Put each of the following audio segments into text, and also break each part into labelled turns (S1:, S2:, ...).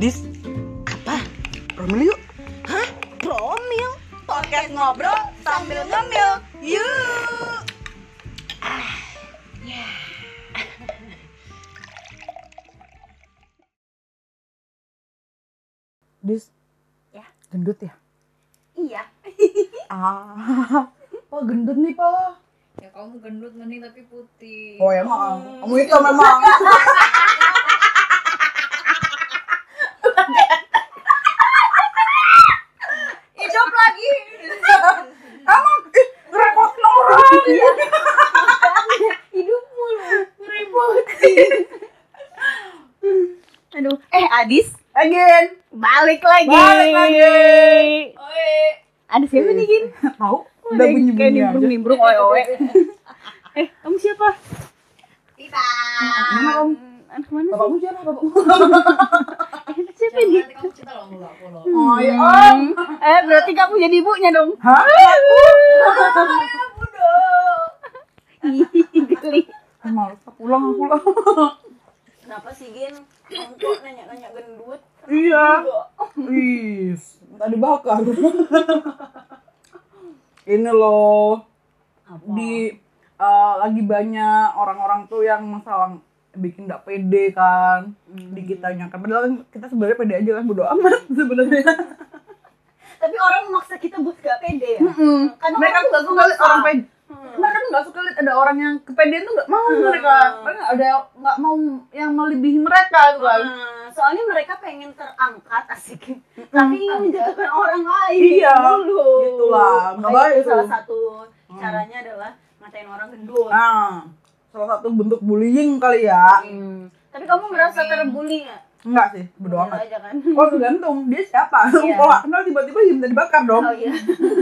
S1: Dis, apa? Romil yuk.
S2: Hah? Promil? Podcast ngobrol sambil ngemil. Yuk.
S1: Ah, ya. Dis.
S2: Ya?
S1: Gendut ya?
S2: Iya.
S1: Ah. Pak gendut nih, Pak.
S3: Ya kamu gendut mending tapi putih.
S1: Oh ya, maaf. Kamu itu memang.
S2: Hidup lagi.
S1: Kamu ih, ngerepotin orang.
S2: Hidup mulu. Aduh. Eh Adis.
S1: Again.
S2: Balik lagi.
S1: Balik lagi.
S3: Oi.
S2: Ada siapa nih Gin?
S1: Tahu? Udah
S2: Kayak
S1: bunyi-bunyi aja.
S2: nimbrung-nimbrung oe oe. eh kamu siapa?
S3: Tita.
S1: Gimana kamu?
S2: Anak mana?
S1: Bapakmu siapa? Bapakmu.
S2: Eh,
S3: Jangan
S2: siapa Gin?
S3: nanti kamu cinta loh mulu aku loh.
S1: Oh ya, Om.
S2: Hmm. Eh berarti kamu jadi ibunya dong.
S1: Hah?
S4: Iya,
S2: Ih, Geli.
S1: Malu, aku pulang, aku pulang.
S4: Kenapa sih Gin? Kamu kok nanya-nanya gendut?
S1: Iya. Wih, tadi bakar. Ini loh di eh, lagi banyak orang-orang tuh yang masalah bikin nggak pede kan
S2: Hmm.
S1: di kitanya kan padahal kan kita sebenarnya pede aja kan bodo amat sebenarnya
S2: Tapi orang memaksa kita buat gak pede ya. Karena
S1: mereka
S2: orang Hmm.
S1: tuh nggak suka lihat orang pede mereka tuh nggak suka lihat ada orang yang kepedean tuh nggak mau mereka mereka ada yang nggak mau yang melebihi mereka tuh kan
S4: Hmm, soalnya mereka pengen terangkat asik. Tapi menjatuhkan orang lain.
S1: Iya,
S4: Dulu.
S1: gitulah. Nggak
S4: Makanya
S1: baik
S4: itu salah
S1: tuh. Hmm.
S4: satu caranya adalah ngatain orang gendut.
S1: nah salah satu bentuk bullying kali ya
S4: Hmm. Tapi kamu merasa terbully nggak?
S1: enggak sih Iya. bodo
S4: Iya
S1: amat
S4: aja kan.
S1: Oh tergantung dia siapa.
S4: Iya.
S1: Kalau nggak kenal tiba-tiba ya minta dibakar dong.
S4: Oh iya.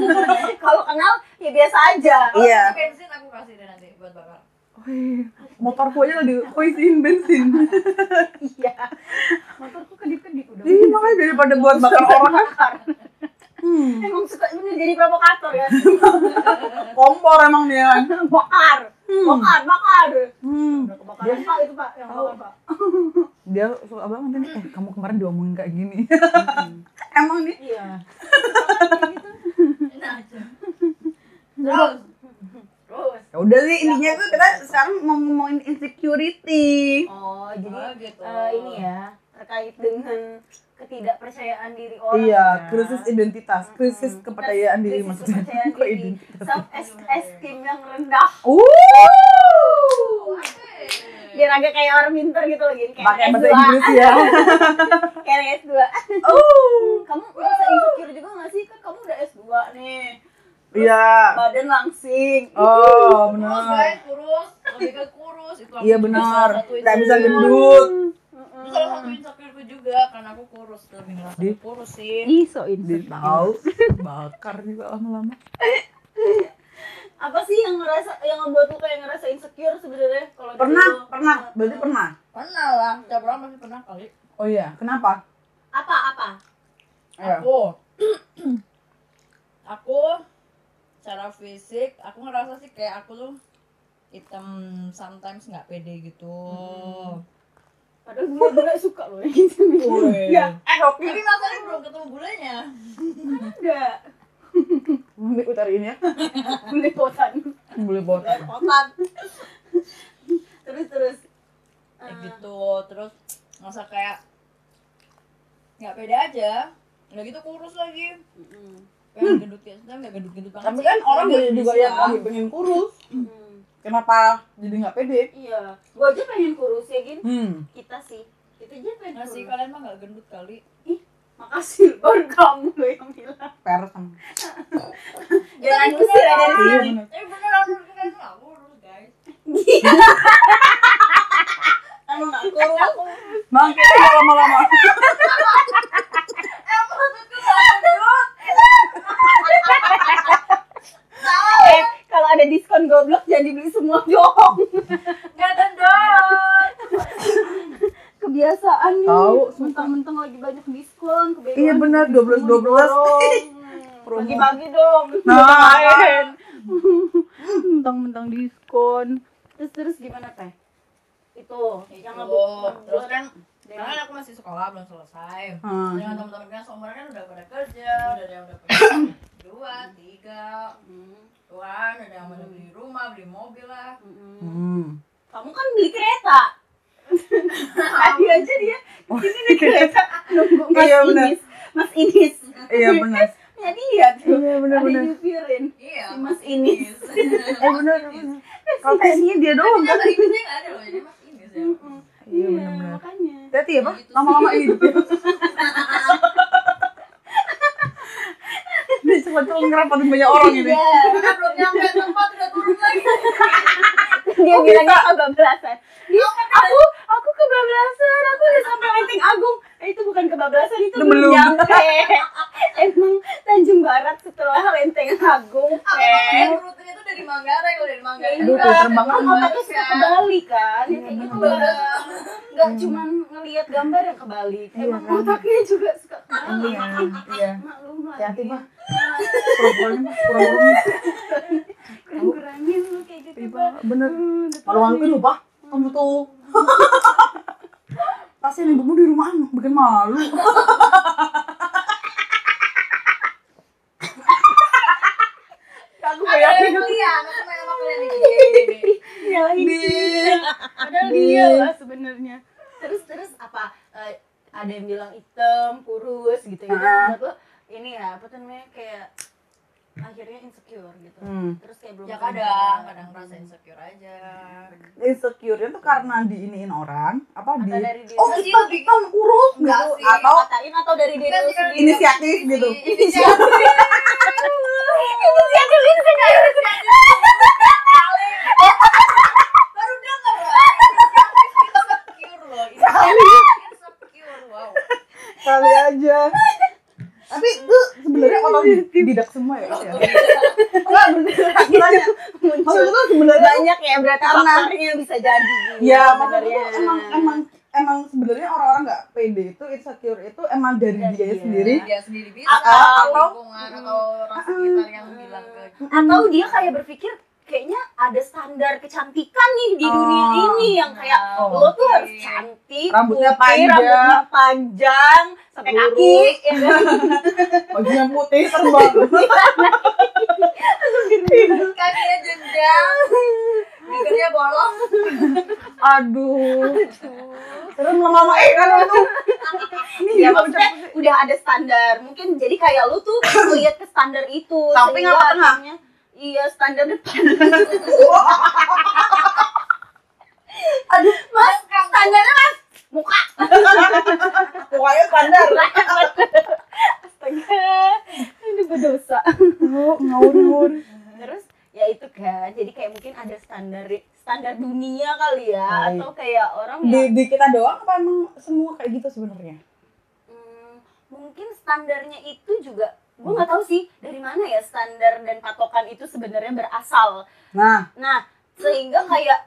S4: Kalau kenal ya biasa aja.
S1: Iya.
S3: Bensin aku kasih deh nanti buat bakar.
S1: Wih, motorku aja lagi kok isiin bensin.
S4: Iya. Motorku kedip-kedip udah.
S1: Ih makanya daripada buat bakar orang kan. Hmm,
S4: Emang suka bener jadi provokator ya.
S1: kompor emang dia kan.
S4: Bakar.
S1: Hmm. Oh,
S4: Bakar, bakar.
S1: hmm.
S4: Udah kebakaran Pak itu Pak yang bakar Pak.
S1: Dia suka banget nih, eh kamu kemarin diomongin kayak gini. emang nih.
S4: Iya.
S3: Enak aja. Terus.
S4: Terus.
S1: Ya udah sih intinya tuh kita sekarang mau ngomongin insecurity.
S4: Oh, jadi
S3: Oh, gitu.
S4: eh, ini ya terkait dengan ketidakpercayaan diri orang.
S1: Iya,
S4: ya.
S1: krisis identitas, krisis
S4: Mm-mm.
S1: kepercayaan diri
S4: Krisis
S1: maksudnya.
S4: kepercayaan
S1: Kok
S4: diri.
S1: identitas?
S4: Self esteem yang rendah.
S1: Uh.
S4: Biar agak kayak orang pintar gitu loh gini kayak
S1: Pakai bahasa
S4: S2.
S1: Inggris ya.
S4: Kayak anak S2.
S1: Uh.
S4: Kamu merasa insecure juga gak sih? Kan kamu udah S2 nih.
S1: Iya.
S4: Badan langsing.
S1: Oh,
S3: Kurus
S1: benar.
S3: guys, kurus. Lebih ke kurus itu aku
S1: Iya
S3: juga
S1: benar.
S3: salah satu
S1: Tidak bisa gitu.
S3: insecure.
S1: gendut.
S3: Itu salah satu insecureku juga karena aku kurus lebih ngerasa
S1: Di-
S3: kurus sih.
S2: Ih, so insecure.
S1: Tahu bakar juga lama-lama.
S4: Apa sih yang ngerasa yang ngebuat lu kayak ngerasa insecure sebenarnya kalau dari
S1: Pernah,
S4: lu?
S1: pernah. Berarti pernah.
S3: Pernah lah, tiap orang pasti pernah kali.
S1: Oh iya, kenapa?
S4: Apa apa?
S1: Iya.
S3: aku aku secara fisik aku ngerasa sih kayak aku tuh hitam sometimes nggak pede gitu
S1: Hmm.
S4: Padahal gue bener suka loh yang gitu.
S1: Iya. Eh, oke.
S3: tapi masalahnya belum ketemu bulannya
S4: Enggak.
S1: Ini utariin ya.
S4: Belepotan.
S1: Boleh botak.
S4: Belepotan. terus terus.
S3: kayak
S1: Ah.
S4: Eh,
S3: gitu terus ngerasa kayak nggak pede aja udah gitu kurus lagi
S4: mm,
S3: pengen gendut ya sebenarnya nggak gendut gendut banget
S1: Hmm. Tapi kan orang
S3: Gendut
S1: boleh juga
S3: Iya, bisa.
S1: yang lagi pengen kurus.
S4: mm.
S1: Kenapa jadi nggak pede?
S4: Iya. Gue aja pengen kurus ya gin.
S1: Hmm.
S4: Kita sih. Kita aja pengen
S3: nggak sih
S4: kurus.
S3: kalian mah nggak gendut kali
S4: Makasih baru kamu loh yang bilang.
S1: Person.
S4: Jangan
S3: beneran.
S4: usir ya dari
S1: Iya
S4: sini.
S1: benar.
S3: tapi beneran kalian nggak kurus guys
S4: Emang gak kurus.
S1: Makanya ya lama-lama.
S2: Eh, kalau ada diskon goblok jangan dibeli semua dong.
S3: nggak gendut
S2: Kebiasaan nih.
S1: Tahu.
S2: Mentang-mentang lagi banyak diskon, kebiasaan.
S1: Iya benar 12 12.
S2: Bagi-bagi dong.
S1: Nah,
S3: Iya.
S2: Mentang-mentang diskon.
S4: Terus terus gimana teh? Itu
S3: yang
S4: yang ngebuat
S3: Oh, terus kan Karena kan aku masih sekolah belum selesai.
S1: Hmm.
S3: Dengan teman-teman kita seumuran kan udah pada kerja, udah ada yang udah punya dua, tiga, tuan, ada yang udah beli rumah, beli mobil lah.
S1: Hmm.
S4: Kamu kan beli kereta.
S2: Tadi aja dia ini di kereta nunggu Mas
S1: Iya, benar.
S2: Inis. Mas Inis.
S1: Iya benar.
S2: Ya dia tuh.
S1: Iya benar
S2: Ada
S1: benar.
S2: nyupirin.
S3: Iya.
S2: Si Mas Inis.
S1: Eh benar benar. Kalau kayaknya dia doang kan.
S3: Ternyata Inggrisnya nggak ada loh, jadi mas Inggris ya.
S1: Iya
S2: Iya,
S1: benar benar.
S2: makanya.
S1: Tadi ya, Pak.
S2: Iya,
S1: Lama-lama hidup. Dia cepat-cepat ngerapatin banyak orang ini.
S2: Iya.
S3: Kita belum nyampe tempat udah turun lagi.
S2: Dia bilangnya kebablasan. Oh, Dia, aku aku kebablasan. Aku udah sampai Lenteng Agung. Eh, itu bukan kebablasan, itu
S1: Itu
S2: belum
S1: belum.
S2: nyampe. Emang Tanjung Barat setelah Lenteng Agung.
S3: Aku
S2: Teh.
S3: kemarin rutenya tuh dari Manggarai, kalau dari Manggarai.
S1: Aduh,
S3: udah,
S1: terbang
S2: Kan
S3: kembali,
S2: otaknya suka
S3: kan.
S2: ke Bali kan. Ya, kayak gitu
S3: bener.
S2: lah. Nggak cuma ngelihat gambar yang ke Bali. Emang
S1: kan.
S2: otaknya juga suka ke Bali.
S1: Iya, iya.
S2: Maklum lah.
S1: Hati-hati, Pak. Kurang-kurangnya, Pak. Kurang-kurangnya.
S2: Kurang-kurangin lu kayak gitu,
S1: Iya,
S2: Pak.
S1: Pak. Bener.
S2: Hmm,
S1: Malu-maluin lu, Pak. Kamu tuh. Kasihan ibumu di rumah, bikin malu.
S2: Aku
S3: Ada yang
S2: bayangin.
S3: kalian, aku main sama kalian nih. Gini, gini, gini.
S2: Nyalahin dia. Padahal dia lah sebenarnya.
S4: Terus terus apa? eh, ada yang bilang hitam, kurus gitu ya.
S1: Ah.
S4: Menurut lo, ini ya apa tuh namanya kayak akhirnya insecure gitu.
S1: Hmm.
S4: Terus kayak belum
S3: Ya kadang,
S4: ada-
S3: kadang ngerasa insecure aja.
S1: insecure-nya tuh karena diiniin orang apa di
S4: atau dari diri
S1: oh
S3: Masih
S1: hitam
S3: lebih-
S1: hitam kurus
S3: Enggak
S1: gitu
S3: sih.
S1: atau
S4: katain atau dari diri
S3: Enggak
S4: lo
S3: sih, kan.
S4: sendiri.
S1: inisiatif gitu
S3: Inisiatif.
S2: Inisiatif inisiatif.
S3: Baru denger lah. Insecure loh. Insecure, wow.
S1: kali aja tapi itu sebenarnya orang tidak semua ya Mas, ya enggak bergerak tanya maksud itu sebenarnya
S2: Banyak ya berarti
S1: Karena-
S2: faktornya bisa jadi.
S1: ya maksud itu
S2: sebenarnya.
S1: emang emang emang sebenarnya orang-orang nggak pede itu insecure itu emang dari
S4: Dari
S1: dia
S4: dia.
S1: sendiri
S3: Dia sendiri bisa.
S1: Atau-
S3: lingkungan atau orang sekitar yang bilang ke
S4: atau
S1: Hmm.
S4: dia kayak berpikir kayaknya ada standar kecantikan nih di
S1: Oh.
S4: dunia ini yang kayak
S1: Oh.
S4: lo tuh harus cantik,
S1: Rambutnya
S4: putih,
S1: panjang.
S4: rambutnya panjang, sampai
S2: Lurus.
S4: kaki, ya kan?
S1: bajunya putih terbang
S3: kakinya jenjang. Bibirnya bolong.
S1: aduh serem lama-lama eh kan itu ini juga
S4: ya maksudnya udah ada standar. Mungkin jadi kayak lo tuh melihat ke standar itu.
S1: Tapi
S4: sehingga
S1: nggak pernah.
S4: akhirnya, Iya standar depan. Aduh mas, standarnya mas muka.
S1: pokoknya standar
S4: Astaga, ini berdosa.
S1: Oh, ngawur-ngawur.
S4: terus ya itu kan jadi kayak mungkin ada standar standar dunia kali ya
S1: Baik.
S4: atau kayak orang
S1: Di,
S4: yang
S1: di kita doang apa emang semua kayak gitu sebenarnya?
S4: hmm, mungkin standarnya itu juga gue nggak tahu sih dari mana ya standar dan patokan itu sebenarnya berasal
S1: Nah,
S4: nah sehingga kayak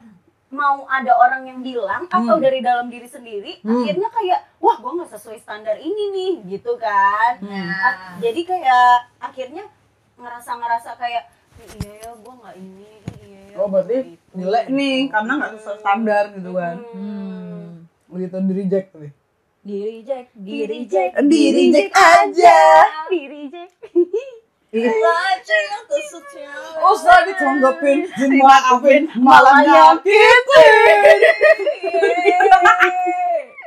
S4: mau ada orang yang bilang atau
S1: Hmm.
S4: dari dalam diri sendiri
S1: Hmm.
S4: akhirnya kayak wah gue nggak sesuai standar ini nih gitu kan
S1: Hmm.
S3: Nah,
S4: A- jadi kayak akhirnya ngerasa ngerasa kayak "Ih, iya ya gue nggak ini ih, iya ya
S1: Oh, berarti
S4: gua nggak itu."
S1: jelek nih karena nggak sesuai standar gitu kan.
S4: Hmm.
S1: Begitu di reject tuh.
S4: Di reject, di
S2: Di
S4: reject,
S1: Di reject aja.
S4: di reject.
S3: baca yang tersetia.
S1: Usah ditanggepin, dimaafin, malah nyakitin.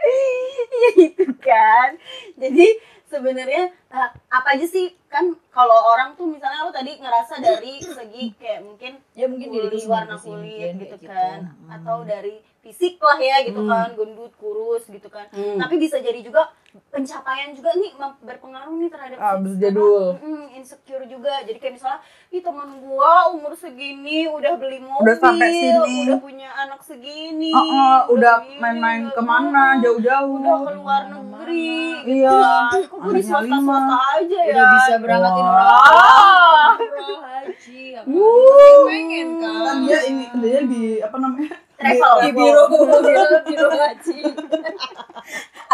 S4: Iya itu kan. Jadi sebenarnya eh, apa aja sih kan kalau orang tuh misalnya lu tadi ngerasa dari segi kayak mungkin
S3: Ya mungkin diri lu
S4: kulit,
S3: sendiri
S4: warna
S3: sih,
S4: kulit
S3: mungkin
S4: gitu
S3: kayak gitu.
S4: kan
S3: Hmm.
S4: atau dari fisik lah ya gitu
S1: Hmm.
S4: kan gendut kurus gitu kan
S1: Hmm.
S4: tapi bisa jadi juga pencapaian juga nih mem- berpengaruh nih terhadap
S1: Ah,
S4: fisik.
S1: bisa jadul.
S4: Karena, mm, insecure juga jadi kayak misalnya ih teman gua umur segini udah beli mobil
S1: Udah sampai sini.
S4: udah punya anak segini
S1: Oh, oh, udah
S4: gini,
S1: main-main
S4: udah-
S1: kemana jauh-jauh.
S4: Iya, udah keluar negeri
S1: Mana-mana. Iya.
S4: gitu. kok gue di
S1: Anaknya
S4: swasta swasta aja ya
S3: Udah bisa berangkatin
S1: Wah.
S3: orang
S4: Ah.
S3: umroh, haji, apa
S1: Wuh.
S3: pengen
S1: Kan
S3: kan?
S1: dia ini kerjanya di apa namanya?
S4: Travel.
S1: Di, di biro.
S3: Biro- biro haji.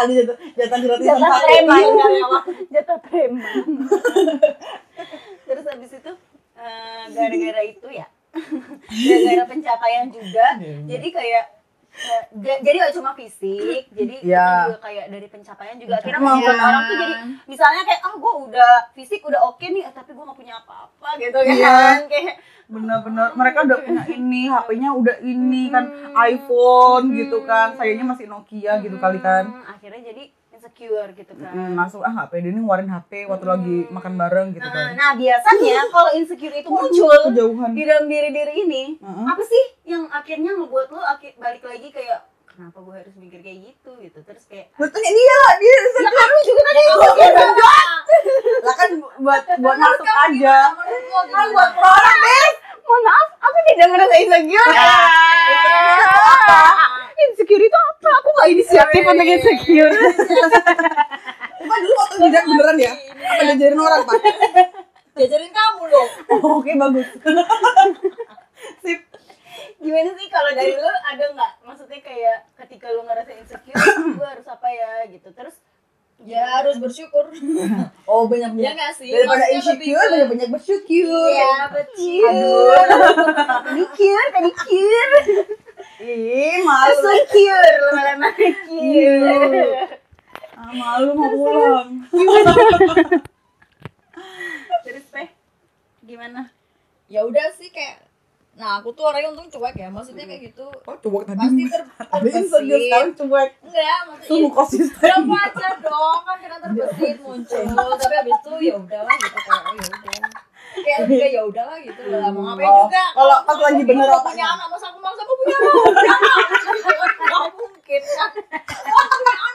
S1: Ada jatah jatah gratis
S4: jatah
S1: tempat.
S4: preman jatah preman terus habis itu
S1: Iya,
S4: eh, gara-gara itu ya gara-gara pencapaian juga jadi kayak eh, ja- jadi gak cuma fisik jadi
S1: Iya.
S4: kita juga kayak dari pencapaian juga akhirnya
S1: Pencapaian.
S4: membuat orang tuh jadi misalnya kayak ah gue udah fisik udah oke nih eh, tapi gue gak punya apa-apa gitu
S1: Iya.
S4: kan kayak
S1: bener-bener mereka udah punya ini HP-nya udah ini kan iPhone gitu kan sayangnya masih Nokia gitu kali kan
S4: hmm, akhirnya jadi insecure gitu kan
S1: Mm, langsung ah HP ini ngeluarin HP waktu lagi makan bareng gitu
S4: Nah,
S1: kan
S4: nah biasanya kalau insecure itu muncul Iya.
S1: kejauhan
S4: di dalam diri diri ini
S1: Heeh.
S4: apa sih yang akhirnya ngebuat lo aki- balik lagi kayak kenapa gue harus mikir kayak gitu gitu terus kayak
S1: Gua tanya dia dia
S4: ya kan lu juga tadi ngomong
S1: iya,
S4: gitu.
S1: lah kan buat buat masuk aja
S4: Nah,
S3: Kan buat
S1: orang deh
S2: Mohon maaf, aku tidak merasa
S4: Iya.
S2: insecure.
S1: apa
S2: Insecure itu apa? Aku gak inisiatif untuk insecure.
S1: Emang Iya. dulu waktu tidak beneran ya apa diajarin orang pak
S4: jajarin kamu dong
S1: oke bagus
S4: gimana sih kalau dari lu ada nggak maksudnya kayak ketika lu ngerasa insecure gue harus apa ya gitu terus
S3: Ya harus bersyukur.
S1: oh banyak banyak
S3: Ya nggak sih?
S1: daripada
S3: Maksudnya lebih
S1: insecure
S3: ke-
S1: banyak banyak bersyukur
S4: betul pedikir pedikir
S1: ih malu
S4: insecure lama-lama
S1: Iya.
S4: insecure
S1: ah, malu mau pulang
S4: terus teh gimana
S3: Ya udah sih kayak Nah, aku tuh orangnya untung cuek ya. Maksudnya kayak gitu.
S1: oh cuek tadi
S3: Pasti Iya. ter
S1: tapi insecure
S3: terbesit.
S1: sekarang cuek
S3: Enggak,
S1: tuh
S3: maksudnya
S1: konsisten
S3: Kamu aja dong, kan kita terbesit muncul. Tapi habis itu ya udahlah gitu kayak oh ya udah. Kayak lebih kayak ya udahlah gitu lah. Mau ngapain
S1: Oh,
S3: juga?
S1: kalau pas lagi bener
S3: Aku
S1: otaknya.
S3: punya anak, masa aku masa aku punya anak. Punya anak. Enggak mungkin kan. Aku punya anak.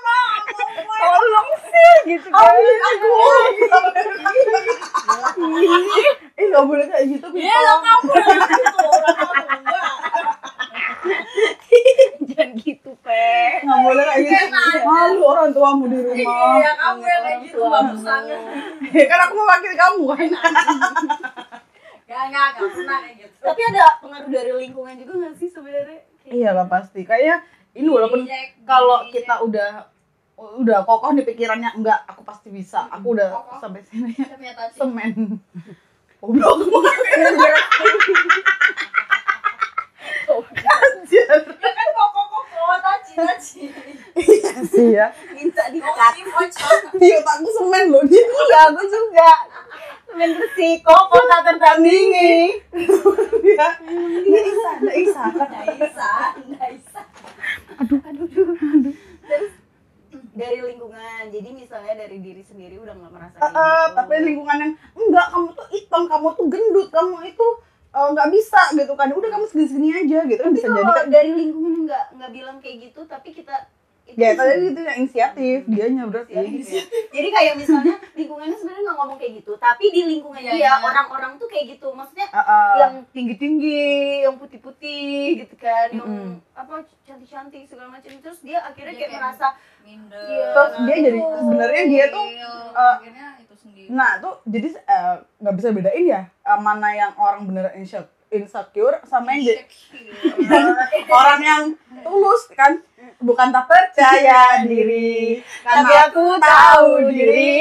S1: tolong sih gitu kan aku ih nggak boleh kayak gitu
S3: Iya, lah kamu yang gitu orang kamu enggak.
S4: jangan gitu pe
S1: nggak boleh kayak gitu malu orang tuamu di rumah
S3: Iya, kamu yang kayak gitu bagus banget.
S1: kan aku mewakili kamu kan
S3: Enggak, enggak, enggak pernah kayak gitu.
S4: tapi ada pengaruh dari lingkungan juga nggak sih sebenarnya Kayak-
S1: Iya lah pasti. Kayaknya ini walaupun
S3: Injek,
S1: kalau
S3: injek.
S1: kita udah udah kokoh di pikirannya enggak aku pasti bisa. Aku udah
S3: Kokoh.
S1: sampai sini
S3: ternyata sih.
S1: semen. Goblok. Iya,
S4: Oh.
S1: Anjir.
S3: Ya kan kok kok kok kok taci taci.
S1: Sih ya.
S4: minta
S3: Kok
S4: dikat
S3: sih kocok.
S1: Di otakku Iya, semen loh dia.
S4: iya aku juga main bersih kopo tak tertandingi
S1: Iya. Ini Isa, ini Isa.
S3: Naisa, Naisa.
S4: dari lingkungan jadi misalnya dari diri sendiri udah nggak merasa
S1: Eh,
S4: kayak gitu.
S1: tapi lingkungan yang enggak kamu tuh hitam, kamu tuh gendut, kamu itu eh, nggak bisa gitu kan. Udah kamu segini-segini aja gitu kan bisa
S4: Tapi
S1: jadi
S4: kalau
S1: kan
S4: dari lingkungan nggak nggak bilang kayak gitu tapi kita itu
S1: Ya, tadi itu yang inisiatif, dianya
S4: Ya,
S1: berarti.
S4: gitu ya. Jadi kayak misalnya lingkungannya sebenarnya nggak ngomong kayak gitu, tapi di lingkungan
S3: Iya,
S4: dia
S3: iya.
S4: orang-orang tuh kayak gitu, maksudnya
S1: Heeh.
S4: yang tinggi-tinggi, yang putih-putih gitu kan, yang
S1: Mm-mm.
S4: apa cantik-cantik segala macam terus dia akhirnya
S3: Dia
S4: kayak
S3: kayak-
S4: merasa
S3: Minder.
S4: Iya.
S1: Terus dia jadi- sebenarnya dia tuh, eh,
S3: akhirnya itu sendiri.
S1: Nah, tuh jadi eh, nggak bisa bedain ya eh, mana yang orang bener insecure, insecure sama
S3: Iya.
S1: yang jadi- orang yang tulus kan bukan tak percaya diri
S4: tapi
S1: karena
S4: aku
S1: aku tahu diri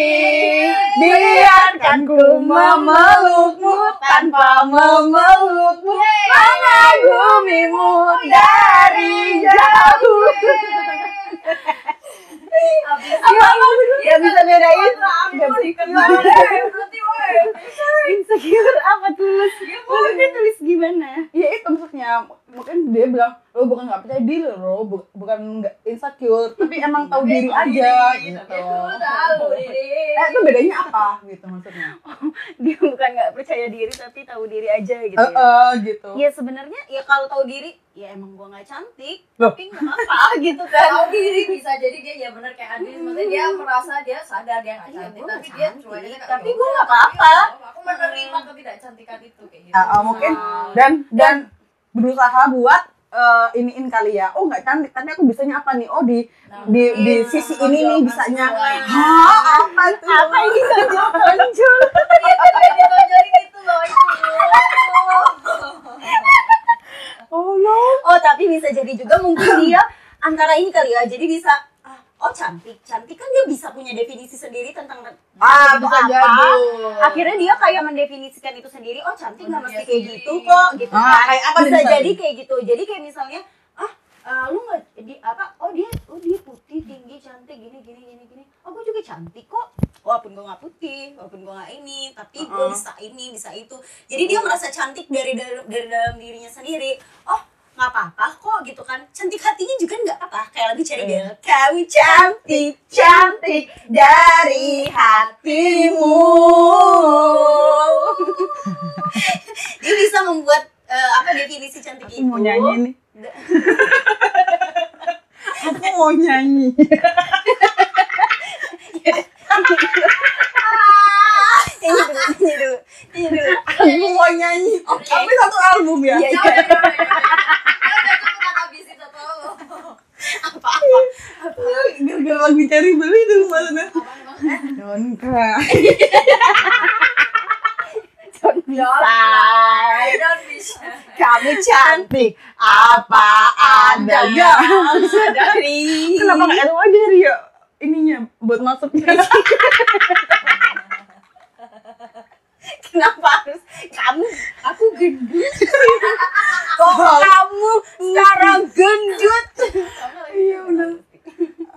S1: biarkan ku memelukmu tanpa memelukmu mengagumimu dari jauh
S4: apa nggak bisa bedain nggak bisa
S3: Berarti woi.
S4: insecure apa tulus maksudnya tulus gimana
S1: ya itu maksudnya mungkin dia bilang lo bukan nggak percaya diri lo bu- bukan nggak insecure tapi emang tahu diri aja gitu
S3: Itu tahu diri.
S1: eh itu bedanya apa gitu maksudnya
S4: dia bukan nggak percaya diri tapi tahu diri aja gitu
S1: eh
S4: ya
S1: eh, gitu
S4: ya sebenarnya ya kalau tahu diri ya emang gua nggak cantik
S1: Loh.
S4: tapi nggak apa gitu kan
S3: tahu diri bisa jadi dia ya benar kayak Adin maksudnya dia merasa dia sadar dia nggak
S4: Iya,
S3: cantik
S4: gua
S3: tapi dia
S4: nggak cantik,
S3: cuek aja kayak,
S4: tapi
S3: "Ya
S4: gua
S3: udah,
S4: nggak
S3: tapi
S4: apa-apa."
S3: nggak apa-apa. aku menerima ketidakcantikan itu kayak gitu
S1: Eh, eh, mungkin dan dan berusaha buat eh, iniin kali ya oh nggak cantik tapi aku bisanya apa nih oh di
S3: Nah,
S1: di di
S3: iya,
S1: sisi ini nih
S3: jawaban
S1: bisanya
S3: semua.
S1: Hah, apa tuh
S4: apa ini saja muncul
S3: ditonjolin itu loh itu
S1: oh no
S4: oh tapi bisa jadi juga mungkin dia antara ini kali ya jadi bisa ah, oh cantik cantik kan dia bisa punya definisi sendiri tentang
S1: ah
S4: Itu
S1: bisa
S4: apa?
S1: jadi
S4: akhirnya dia kayak mendefinisikan itu sendiri oh cantik nggak
S3: Menurut
S4: mesti
S3: dia
S4: kayak
S3: sendiri.
S4: gitu kok gitu
S1: Ah,
S4: kan
S1: kayak apa
S4: bisa
S1: misalnya?
S4: jadi kayak gitu jadi kayak misalnya ah eh, lu nggak di apa oh dia oh dia putih tinggi cantik gini gini gini gini oh gue juga cantik kok walaupun gue nggak putih walaupun gue nggak ini tapi gue
S1: Mm-mm.
S4: bisa ini bisa itu jadi dia merasa cantik dari dalam dari dalam dirinya sendiri oh nggak apa-apa kok gitu kan cantik hatinya juga nggak apa kayak lagu cari
S1: Iya.
S4: kamu cantik cantik dari hatimu dia bisa membuat eh, apa definisi cantik
S1: Aku
S4: itu
S1: mau nyanyi nih. Aku mau nyanyi.
S4: Nyanyi dulu, nyanyi dulu, nyanyi dulu.
S1: Aku mau nyanyi.
S4: Oke.
S1: Tapi satu album ya.
S3: Ya
S4: Iya, iya.
S3: udah, ya udah, ya udah. Ya udah, aku nggak tahu bisnis atau lo.
S4: apa-apa.
S1: Gara-gara lagu cari beli itu ya. maksudnya.
S3: Apaan, Bang? Eh,
S1: Donka.
S4: Don't
S3: I
S4: decide.
S3: don't wish.
S4: Kamu cantik, apa adanya. Sadari.
S1: Kenapa nggak ada aja ya? Ininya buat masuknya.
S4: Kenapa harus kamu? Aku gendut.
S1: Kok
S4: kamu sekarang gendut?
S3: Kamu lagi-
S1: Iya udah.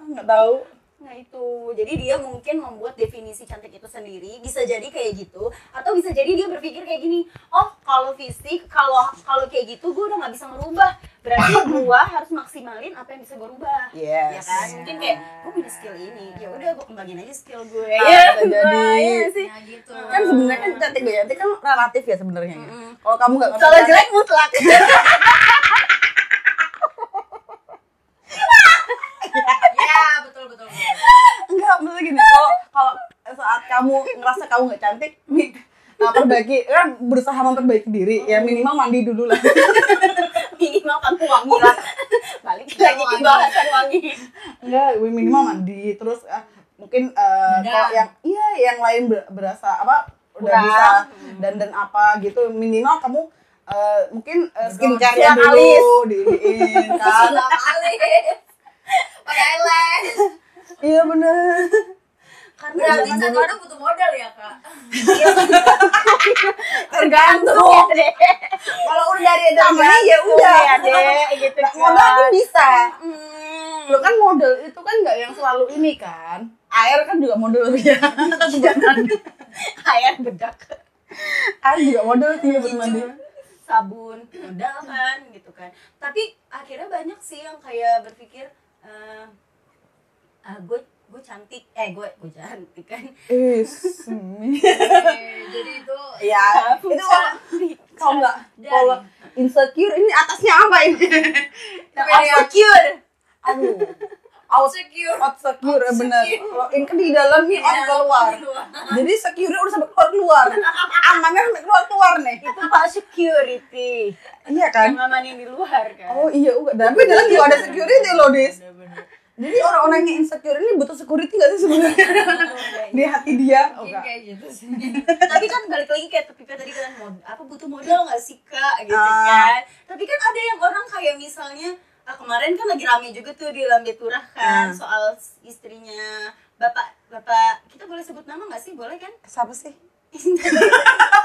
S1: Nggak tahu.
S4: Nah itu, jadi dia mungkin membuat definisi cantik itu sendiri bisa jadi kayak gitu atau bisa jadi dia berpikir kayak gini, oh kalau fisik kalau kalau kayak gitu gue udah nggak bisa ngerubah berarti gue harus maksimalin apa yang bisa gue rubah. Ya
S1: Yes.
S4: kan, mungkin kayak gue punya skill ini, ya udah gue kembangin aja skill gue.
S1: Iya,
S4: Gitu.
S1: jadi.
S4: Iya sih.
S3: Nah, gitu.
S1: Kan sebenarnya cantik gak cantik kan relatif ya sebenarnya. ya.
S4: Mm-mm.
S1: Kalau kamu nggak ngerasa
S4: Kalau
S1: cantik,
S4: jelek mutlak.
S3: Ya, betul, betul, betul.
S1: enggak maksudnya gini kalau kalau saat kamu ngerasa kamu nggak cantik nih nah, perbaiki kan berusaha memperbaiki diri ya minimal mandi dulu lah
S4: Minimal kamu wangi lah. Balik lagi ke
S3: wangi.
S4: bahasan wangi.
S1: enggak minimal mandi terus eh, mungkin eh, kalau
S3: Benar.
S1: yang iya yang lain ber- berasa apa udah
S4: Kurang. Hmm.
S1: bisa dan dan apa gitu minimal kamu eh, mungkin eh, skincare-nya
S4: Silang
S1: dulu diin kan
S3: Salah kali. Pakai eyelash.
S1: iya bener
S4: Karena
S3: Berarti
S4: zaman
S3: satu
S4: dulu-
S3: ada butuh modal ya, Kak?
S4: tergantung deh
S1: kalau udah dari edamnya ya udah
S4: ya deh gitu
S1: Nggak
S4: kan
S1: modal pun bisa
S4: Hmm.
S1: Lo kan model itu kan nggak yang selalu ini kan. Air kan juga model ya. Jangan.
S4: air bedak
S1: Air juga model sih buat mandi.
S4: sabun modal kan gitu kan tapi akhirnya banyak sih yang kayak berpikir eh ah, gue gue cantik eh gue gue cantik kan
S1: Eh,
S3: Eh, Jadi itu
S1: Ya, itu kalau
S4: Cantik.
S1: kalau nggak
S3: Dari.
S1: kalau insecure ini atasnya apa ini?
S4: Yang
S3: Tapi dia-
S4: insecure
S1: Aduh,
S3: insecure.
S1: outsecure ya bener. Kalau ini kan di dalam nih out keluar. Jadi secure udah sampai keluar keluar. Amannya sampai keluar keluar nih.
S4: itu pas security
S1: Iya
S4: yang
S1: kan?
S4: ngamanin di luar kan
S1: Oh iya, enggak. Tapi dalam juga ada security loh, Dis.
S3: Bener-bener.
S1: Jadi orang-orang yang insecure ini butuh security gak sih sebenarnya? di hati dia? Oh,
S3: Mungkin
S1: nggak.
S3: kayak gitu sih.
S4: Iya. tapi kan balik lagi kayak tapi tadi kan mod- apa butuh modal nggak sih kak gitu
S1: Ah.
S4: kan tapi kan ada yang orang kayak misalnya ah, kemarin kan lagi rame juga tuh di Lambe Turah
S1: Ah.
S4: kan soal istrinya bapak bapak kita boleh sebut nama nggak sih boleh kan
S1: Siapa sih?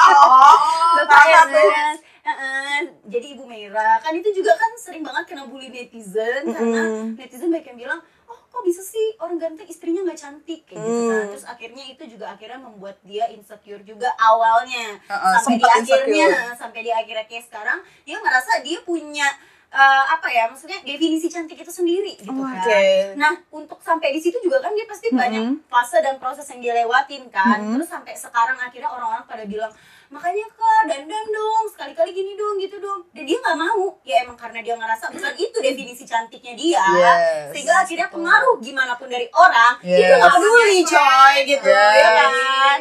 S1: Oh,
S4: bapak
S1: Tama tuh.
S4: Ernest Heeh, jadi ibu Mira kan itu juga kan sering banget kena bully netizen karena
S1: Mm-mm.
S4: netizen banyak yang bilang oh kok bisa sih orang ganteng istrinya nggak cantik kayak gitu kan
S1: Mm.
S4: terus akhirnya itu juga akhirnya membuat dia insecure juga awalnya
S1: Uh-uh,
S4: sampai di
S1: sempat
S4: akhirnya
S1: insecure.
S4: sampai di akhirnya kayak sekarang dia ngerasa dia punya eh, apa ya maksudnya definisi cantik itu sendiri gitu
S1: Oh,
S4: kan
S1: oke.
S4: nah untuk sampai di situ juga kan dia pasti banyak
S1: Mm-mm.
S4: fase dan proses yang dia lewatin kan
S1: Mm-mm.
S4: terus sampai sekarang akhirnya orang-orang pada bilang makanya kak dandan dong sekali-kali gini dong gitu dong dan dia nggak mau ya emang karena dia ngerasa bukan itu definisi cantiknya dia
S1: Yes.
S4: sehingga akhirnya pengaruh gimana pun dari orang dia
S1: Yes.
S4: udah nggak peduli coy gitu ya
S1: Yes.
S4: kan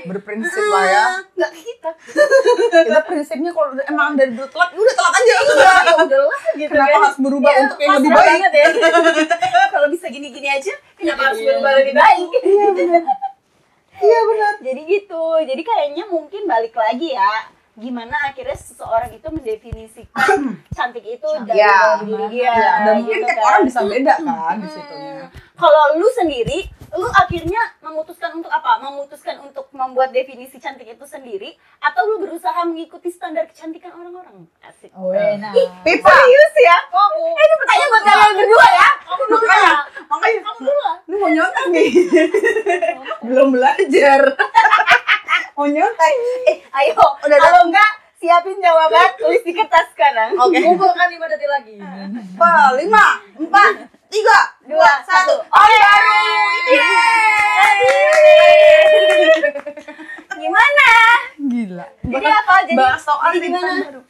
S1: Iya Berprinsip lah ya.
S4: Ah, nggak kita
S1: Kita prinsipnya kalau udah- emang dari dulu telat, ya udah telat aja.
S4: iya ya udahlah gitu
S1: Kenapa
S4: kan.
S1: harus berubah
S4: Ya,
S1: untuk yang lebih
S4: pasrah
S1: baik?
S4: banget ya. kalau bisa gini-gini aja kenapa harus berubah lebih baik iya benar iya benar jadi gitu jadi kayaknya mungkin balik lagi ya gimana akhirnya seseorang itu mendefinisikan cantik itu dari
S1: Ya,
S4: dalam diri dia
S1: Ya, dan
S4: gitu
S1: mungkin tiap
S4: kan.
S1: orang bisa beda kan di
S4: Hmm.
S1: situnya.
S4: kalau lu sendiri lu akhirnya memutuskan untuk apa? Memutuskan untuk membuat definisi cantik itu sendiri atau lu berusaha mengikuti standar kecantikan orang-orang? Asik.
S2: Oh, enak. Ih,
S1: Nah, People use ya.
S4: Kamu. Eh, ini pertanyaan buat kalian berdua ya. Kamu dulu ya.
S1: Makanya
S4: Kamu dulu lah.
S1: Ini mau nyontek nih. Belum belajar. mau nyontek.
S4: Eh, ayo. Kalau enggak siapin jawaban tulis di kertas sekarang.
S1: Oke. kan
S3: Kumpulkan lima detik lagi.
S1: Apa? Lima, empat, tiga,
S4: Dua, satu. Oh, Oke.
S3: Iya.
S4: Gimana?
S1: Gila.
S4: Jadi apa? Jadi
S1: Bahas soal
S4: jadi gimana?
S1: bintang baru.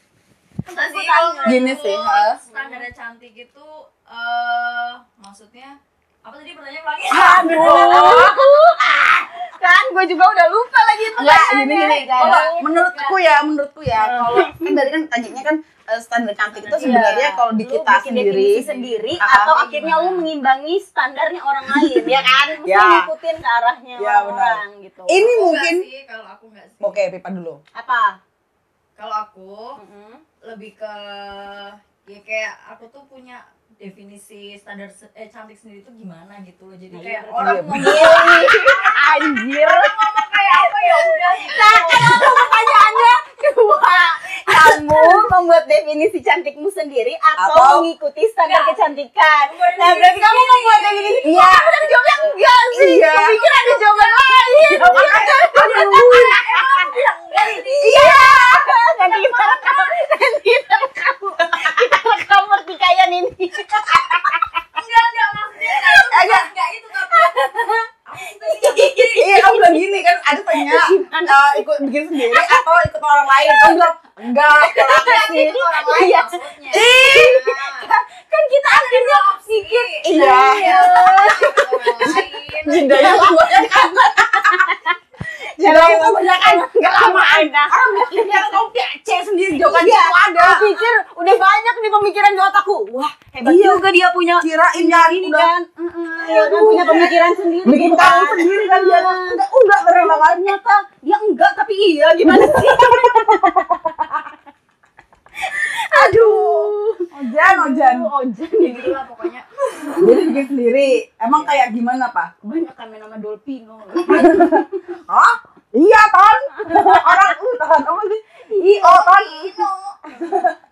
S3: Tapi
S4: Aku
S3: kalau
S4: tanya.
S1: Gini sih, ha?
S3: menurut standarnya cantik itu eh maksudnya apa tadi pertanyaan lagi?
S1: Ah,
S4: Oh. kan gue juga udah lupa lagi
S1: Enggak, gini gini. Kalau
S4: kalau
S1: menurutku ya, menurutku ya, kalau kan dari kan tanyanya kan eh, standar cantik itu sebenarnya kalau di kita sendiri
S4: Iya. sendiri
S1: Ah, gimana?
S4: atau akhirnya lu mengimbangi standarnya orang lain ya kan mesti
S1: Ya.
S4: ngikutin ke arahnya
S1: Ya,
S4: orang,
S1: benar.
S4: gitu
S1: ini
S3: Aku
S1: mungkin
S3: nggak sih, kalau aku nggak sih.
S1: Oke, Pipa dulu.
S4: apa
S3: Kalau aku lebih ke ya kayak aku tuh punya definisi standar se- eh cantik sendiri tuh gimana gitu loh. Jadi kayak
S1: iya.
S3: orang ngomong
S4: anjir
S3: kayak apa ya udah
S4: nah kan itu pertanyaannya dua kamu membuat definisi cantikmu sendiri atau,
S1: Atau-
S4: mengikuti standar
S3: Enggak.
S4: kecantikan
S3: Membuat
S4: nah berarti kamu membuat definisi iya kan jawabnya enggak sih
S1: Iya.
S4: Aku pikir ada jawaban lain Iya, nanti kita rekam, nanti kita rekam, kita rekam pertikaian ini.
S3: enggak enggak maksudnya enggak itu enggak, enggak itu tapi aku tuh cantik
S1: Iya, kamu bilang gini kan ada tanya eh, ikut bikin sendiri atau ikut orang lain. Kamu bilang enggak, kalau aku sih.
S3: itu orang lain
S4: Iya.
S3: maksudnya.
S1: Ih,
S3: Nah,
S4: Kan kita akhirnya
S3: Iya.
S1: iya.
S3: orang lain.
S1: Jendela dua kan.
S4: jalan itu kebanyakan nggak lamaan. Nah,
S1: Jendela kamu kayak C sendiri jawaban
S4: Iya.
S1: itu ada.
S4: aku pikir udah banyak nih pemikiran di otakku. Wah, hebat
S1: Iya.
S4: juga dia punya
S1: Kirain kan
S4: ini
S1: udah
S4: kan. Mm-mm, ya kan, punya pemikiran sendiri.
S1: bikin
S4: gitu
S1: kamu
S4: kan.
S1: sendiri kan dia.
S4: Iya.
S1: Enggak, enggak ternyata kan.
S4: Ternyata dia enggak tapi iya gimana sih? Aduh.
S1: Ojan, ojan.
S4: Aduh, Ojan
S3: Ya gitu lah pokoknya
S1: Jadi bikin sendiri. Emang kayak gimana, Pak?
S4: Banyak kami nama Dolpino.
S1: Hah? Iya, Ton. Orang uh, Ton. Apa sih? I O Ton.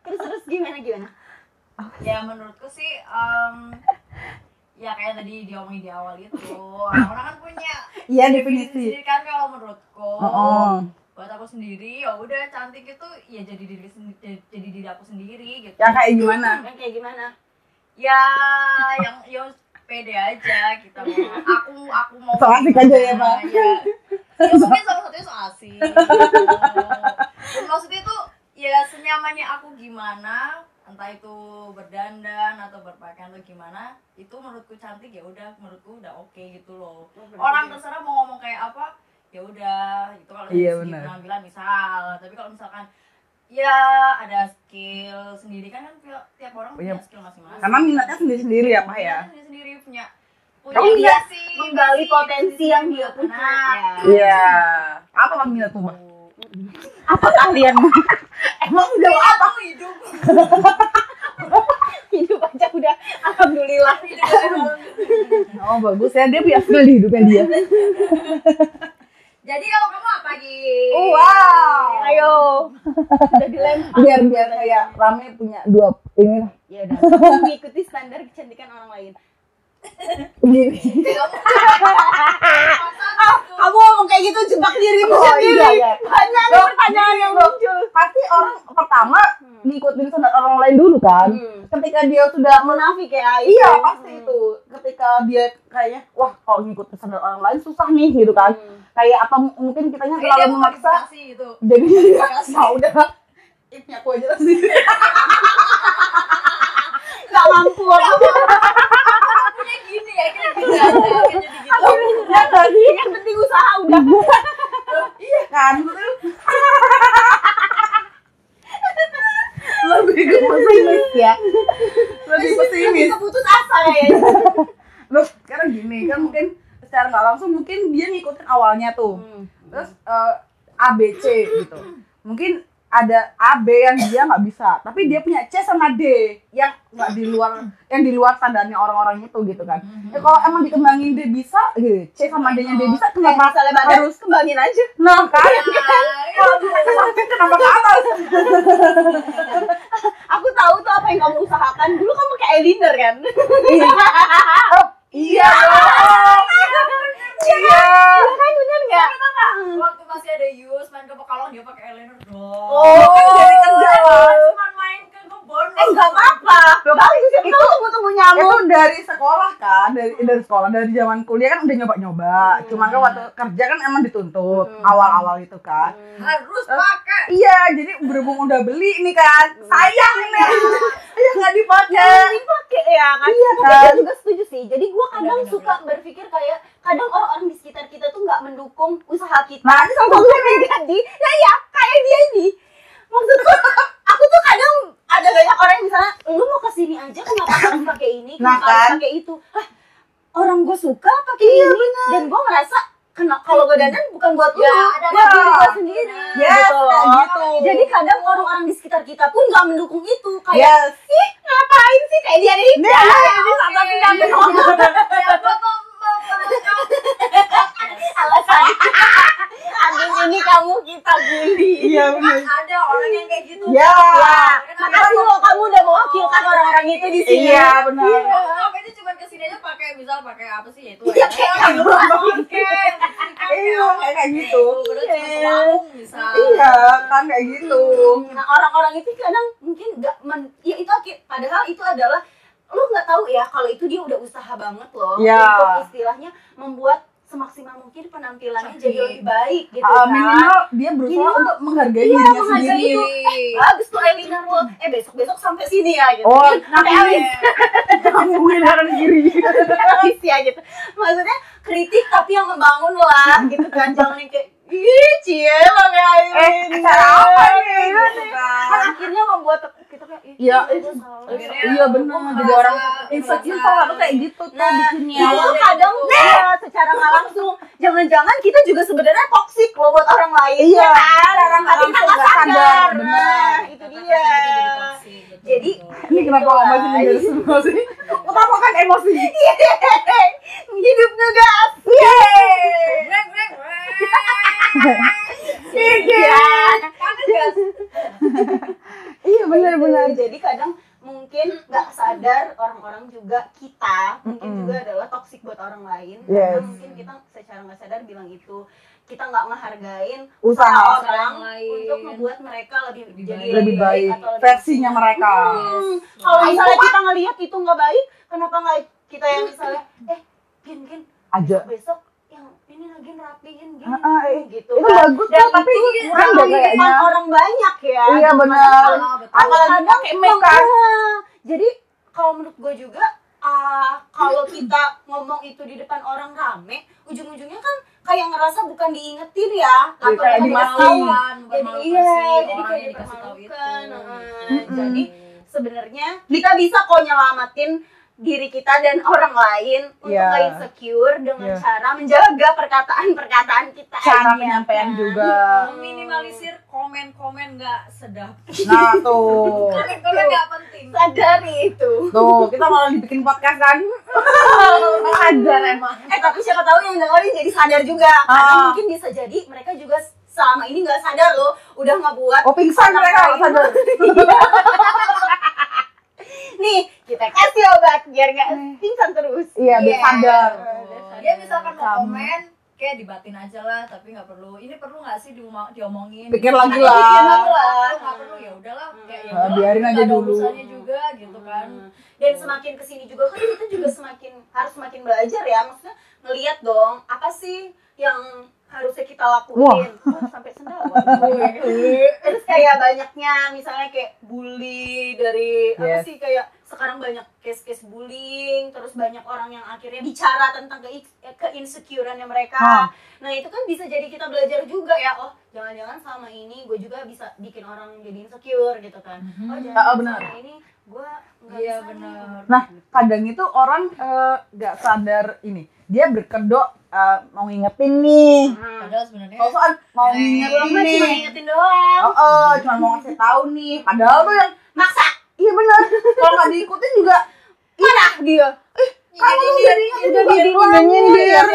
S4: Terus terus gimana gimana?
S3: ya menurutku sih em, ya kayak tadi diomongin di awal itu orang kan punya
S1: Iya,
S3: definisi
S1: definisi.
S3: sendiri kan kalau menurutku
S1: Heeh.
S3: buat aku sendiri ya udah cantik itu ya jadi diri sen- jadi jadi diri aku sendiri gitu
S1: Yang kayak gimana?
S4: Yang kayak gimana?
S3: ya yang ya pede aja gitu aku aku mau
S1: So asik aja ya, Pak.
S3: ya, ya mungkin salah satunya so asik gitu. Dan maksudnya itu ya senyamannya aku gimana entah itu berdandan atau berpakaian atau gimana itu menurutku cantik ya udah menurutku udah oke gitu loh orang terserah mau ngomong kayak apa ya udah itu kalau dari
S1: Iya,
S3: segi
S1: benar.
S3: penampilan misal tapi kalau misalkan ya ada skill sendiri kan kan tiap- tiap orang punya
S1: Punya-
S3: skill masing-masing
S1: Karena minatnya sendiri-sendiri ya, Pak ya.
S3: Minatnya Iya, sendiri punya punya
S4: Kamu
S3: dia
S4: minat
S3: sih
S4: Menggali
S3: sih,
S4: potensi
S3: sih,
S4: yang dia punya.
S3: nah,
S1: Iya. Apa Bang minat Mbak?
S4: Apa kalian
S1: Emang jawab apa?
S3: aku hidup
S4: hidup aja udah alhamdulillah.
S1: Oh, bagus ya. Dia punya skill di hidupnya dia.
S3: jadi kalau kamu apa Gi?
S4: Oh,
S1: Wow.
S4: Ayo. Iya. Udah dilempar.
S1: Biar biar kayak rame punya dua ini lah.
S4: Ya udah, kamu mengikuti standar kecantikan orang lain.
S1: gini.
S4: Ah, Kamu ngomong kayak gitu jebak dirimu
S1: Oh, iya, iya.
S4: Banyak
S1: Loh,
S4: pertanyaan yang muncul.
S1: Pasti orang pertama ngikutin standar orang lain dulu kan.
S4: Hmm.
S1: Ketika dia sudah men
S4: Munafik ya. itu.
S1: Iya, pasti
S4: Hmm.
S1: itu. Ketika dia kayaknya wah kalau ngikutin standar orang lain susah nih gitu kan.
S4: Hmm.
S1: Kayak apa m- mungkin kitanya terlalu memaksa
S3: sih itu
S1: jadi ya udah ipnya aku aja lah sih.
S4: Gak mampu aku.
S3: punya gini ya kayak gini aja
S1: Ya
S3: kayak jadi gitu
S1: nggak sih?
S4: Yang penting usaha udah.
S1: Iya kan? Betul. lebih ke pesimis ya lebih
S4: Lebih
S1: pesimis
S4: keputus asa kayaknya.
S1: loh sekarang gini kan mungkin secara nggak langsung Hmm. mungkin dia ngikutin awalnya tuh terus eh, A B C gitu mungkin ada A B yang dia nggak bisa tapi dia punya C sama D yang nggak di luar yang di luar standarnya orang-orang itu gitu kan ya, kalau emang dikembangin dia bisa gitu, C sama D nya dia bisa kenapa
S4: masalah badan harus kembangin aja
S1: nah kan
S3: Nah,
S1: kalau kemarin kenapa ke atas
S4: aku tahu tuh apa yang kamu usahakan dulu kamu kayak eyeliner kan
S1: iya iya
S4: Iya kan bener nggak
S3: waktu masih ada Yus main ke Pekalongan dia pakai eyeliner doang.
S1: kan jadi kerja lah
S3: Cuma main ke kebon.
S4: Oh, iya. eh nggak apa-apa bagus itu tunggu tunggu
S1: itu
S4: nyamuk
S1: Kan dari sekolah kan dari dari sekolah dari zaman kuliah kan udah nyoba nyoba cuman kan waktu kerja kan emang dituntut awal awal itu kan
S3: Harus pakai.
S1: iya jadi berhubung udah beli nih kan sayang nih sayang nggak dipakai
S4: Mending pakai ya kan
S1: Iya,
S4: Tapi
S1: kan?
S4: gue juga setuju sih jadi gue kadang
S3: Bener, bener,
S4: suka berpikir kayak kadang orang-orang di sekitar kita tuh nggak mendukung usaha kita
S1: Nah, ini sama
S4: gue menjadi ya ya kayak dia ini maksudku aku tuh kadang ada banyak orang yang misalnya lu mau kesini aja kenapa harus pakai ini
S1: Nah,
S4: kenapa harus
S1: kan?
S4: pakai itu Hah, orang gue suka pakai ini dan gue ngerasa kena kalau gue dandan bukan buat
S3: Ya,
S4: lu
S3: ada
S4: buat diri gue
S1: bener.
S4: sendiri
S1: Yes, kayak gitu.
S4: jadi kadang orang-orang di sekitar kita pun nggak mendukung itu kayak
S1: yes
S4: ih ngapain sih kayak dia ini
S1: Nih,
S4: ini satu tidak menolak
S3: Ya gua mau- mau- mau-
S4: Iya. alasan abis ini kamu kita bully
S1: iya
S3: kan
S1: bener
S3: ada orang yang kayak gitu.
S1: ya
S4: Wah, Iya. makasih loh kamu udah mewakilkan orang-orang itu di sini
S1: iya benar
S3: Kenapa itu cuma kesini aja pakai misal pakai apa sih ya gitu, itu?
S4: Iya, kayak kamu.
S1: iya kayak- kayak gitu
S3: bisa.
S1: iya kan kayak gitu
S4: nah orang-orang itu kadang mungkin nggak men ya itu oke padahal itu adalah lu nggak tahu ya kalau itu dia udah usaha banget loh
S1: Iya.
S4: untuk istilahnya membuat semaksimal mungkin penampilannya jadi lebih baik gitu
S1: Uh,
S4: kan
S1: minimal dia berusaha
S4: Minimal-
S1: untuk menghargai
S4: Iya,
S1: dirinya
S4: menghargai
S1: sendiri
S4: itu. bagus tuh Elina lo eh besok besok sampai sini ya gitu
S1: Oh,
S4: sampai habis
S1: ngomongin kanan kiri
S4: habis ya gitu maksudnya kritik tapi yang membangun lah gitu kan jangan yang kayak ih cie lo kayak ini."
S1: cara Eh, apa nih
S4: Gitu kan akhirnya membuat kita kayak "Ih,
S1: Iya,
S4: itu salah."
S3: Akhirnya
S1: iya benar jadi orang insecure
S3: merasa-
S1: tuh kayak gitu tuh
S4: Nah,
S1: bikinnya
S4: itu kadang ya, secara nggak langsung jangan-jangan kita juga sebenarnya toksik loh buat orang lain
S1: Iya,
S4: ya kan
S1: secara nggak
S4: tapi kita
S1: langsung
S4: nggak
S1: nggak sadar,
S4: sadar
S3: gitu.
S1: benar.
S4: nah itu dia Jadi,
S1: ini kenapa
S4: Gitu
S1: ngomongin
S4: lah.
S1: jadi semua sih utama kan emosi
S4: Iya. hidup ngegas
S1: Iya.
S3: Breng, breng, breng.
S4: iya
S3: Kangen gak sih?
S1: iya benar-benar
S4: Gitu. jadi kadang mungkin nggak sadar orang-orang juga kita mungkin
S1: Mm-mm.
S4: juga adalah toksik buat orang lain
S1: Yes.
S4: karena mungkin kita secara nggak sadar bilang itu kita nggak ngehargain
S1: usaha
S4: orang
S3: Orang lain.
S4: untuk membuat mereka lebih,
S3: Lebih
S4: jadi
S3: baik.
S1: lebih baik
S4: atau lebih-
S1: versinya mereka
S4: Hmm, kalau misalnya kita ngelihat itu nggak baik kenapa nggak kita yang misalnya eh gin gin
S1: aja
S4: besok yang ini lagi rapihin gini
S1: Ah, ah, eh,
S4: gitu
S1: itu
S4: kan
S1: bagus
S4: dan
S1: tuh tapi kan
S4: itu
S1: kurang deh
S4: kurang di depan
S1: kayaknya
S4: iya, orang banyak ya
S1: iya benar
S3: Ah, betul.
S1: apalagi pakai make up
S4: Nah, jadi kalau menurut gue juga ah, kalau kita ngomong itu di depan orang rame, ujung-ujungnya kan kayak ngerasa bukan diingetin
S1: Jadi
S4: ya,
S1: Iya, kayak
S4: bukan
S1: dimalu.
S4: diketahui.
S3: Dipermalukan,
S4: Jadi
S3: dipermalukan
S4: iya,
S3: sih,
S4: jadi
S3: orangnya
S4: kayak
S3: dikasih tahu itu.
S4: dipermalukan. heeh.
S1: Mm-mm.
S4: Jadi sebenarnya kita bisa kok nyelamatin diri kita dan orang lain untuk
S1: Iya.
S4: nggak insecure
S1: Iya.
S4: dengan cara menjaga perkataan-perkataan kita
S1: cara
S4: aja,
S1: penyampaian
S4: kan?
S1: juga
S3: minimalisir komen-komen nggak sedap.
S1: nah tuh
S3: Komen-komen nggak penting.
S4: Sadari itu.
S1: tuh kita malah dibikin podcast kan sadar ya. emang
S4: Eh tapi siapa tahu yang dengerin jadi sadar juga. Karena
S1: Ah.
S4: mungkin bisa jadi mereka juga selama ini nggak sadar loh, udah nggak buat.
S1: oh pingsan mereka nggak sadar
S4: Nih kita kasih obat biar nggak pingsan terus.
S1: iya biar
S3: Iya.
S4: Oh,
S1: sadar
S3: Dia misalkan
S1: Sama.
S3: mau komen, kayak dibatin aja lah, tapi nggak perlu. Ini perlu nggak sih diomong- diomongin? Nah,
S1: pikir lagi
S4: Iya,
S1: lah
S4: bener.
S3: Nggak perlu, nggak perlu ya udahlah. Kayak ya
S1: Ah,
S3: udahlah,
S1: biarin
S3: nggak
S1: aja
S3: ada
S1: dulu.
S3: urusannya juga gitu kan.
S4: Dan semakin kesini juga kan kita juga semakin harus semakin belajar ya. Maksudnya ngelihat dong apa sih yang harusnya kita lakuin
S1: Wah.
S4: Wah, sampai sendawa. terus kayak banyaknya misalnya kayak bully dari apa
S1: Yes.
S4: sih kayak sekarang banyak case-case bullying terus banyak orang yang akhirnya bicara tentang ke keinsecureannya mereka
S1: Hah.
S4: nah itu kan bisa jadi kita belajar juga ya oh jangan-jangan selama ini gue juga bisa bikin orang jadi insecure gitu kan oh
S1: Ah,
S3: Mhm.
S1: ah,
S4: jangan
S1: benar.
S4: selama ini gue nggak
S3: Iya
S4: bisa nih.
S3: benar.
S1: Nah, kadang itu orang eh, nggak sadar ini dia berkedok eh, mau ngingetin nih
S3: Nah, Padahal sebenarnya Eh, iya,
S1: kalau soal mau ngingetin
S4: Cuma
S1: nih
S4: ingetin doang.
S1: oh, oh, cuma mau ngasih tahu nih padahal tuh yang
S4: Maksa.
S1: iya benar kalau nggak diikutin juga marah dia Iya, kamu tuh udah diingetin juga bilangin, biar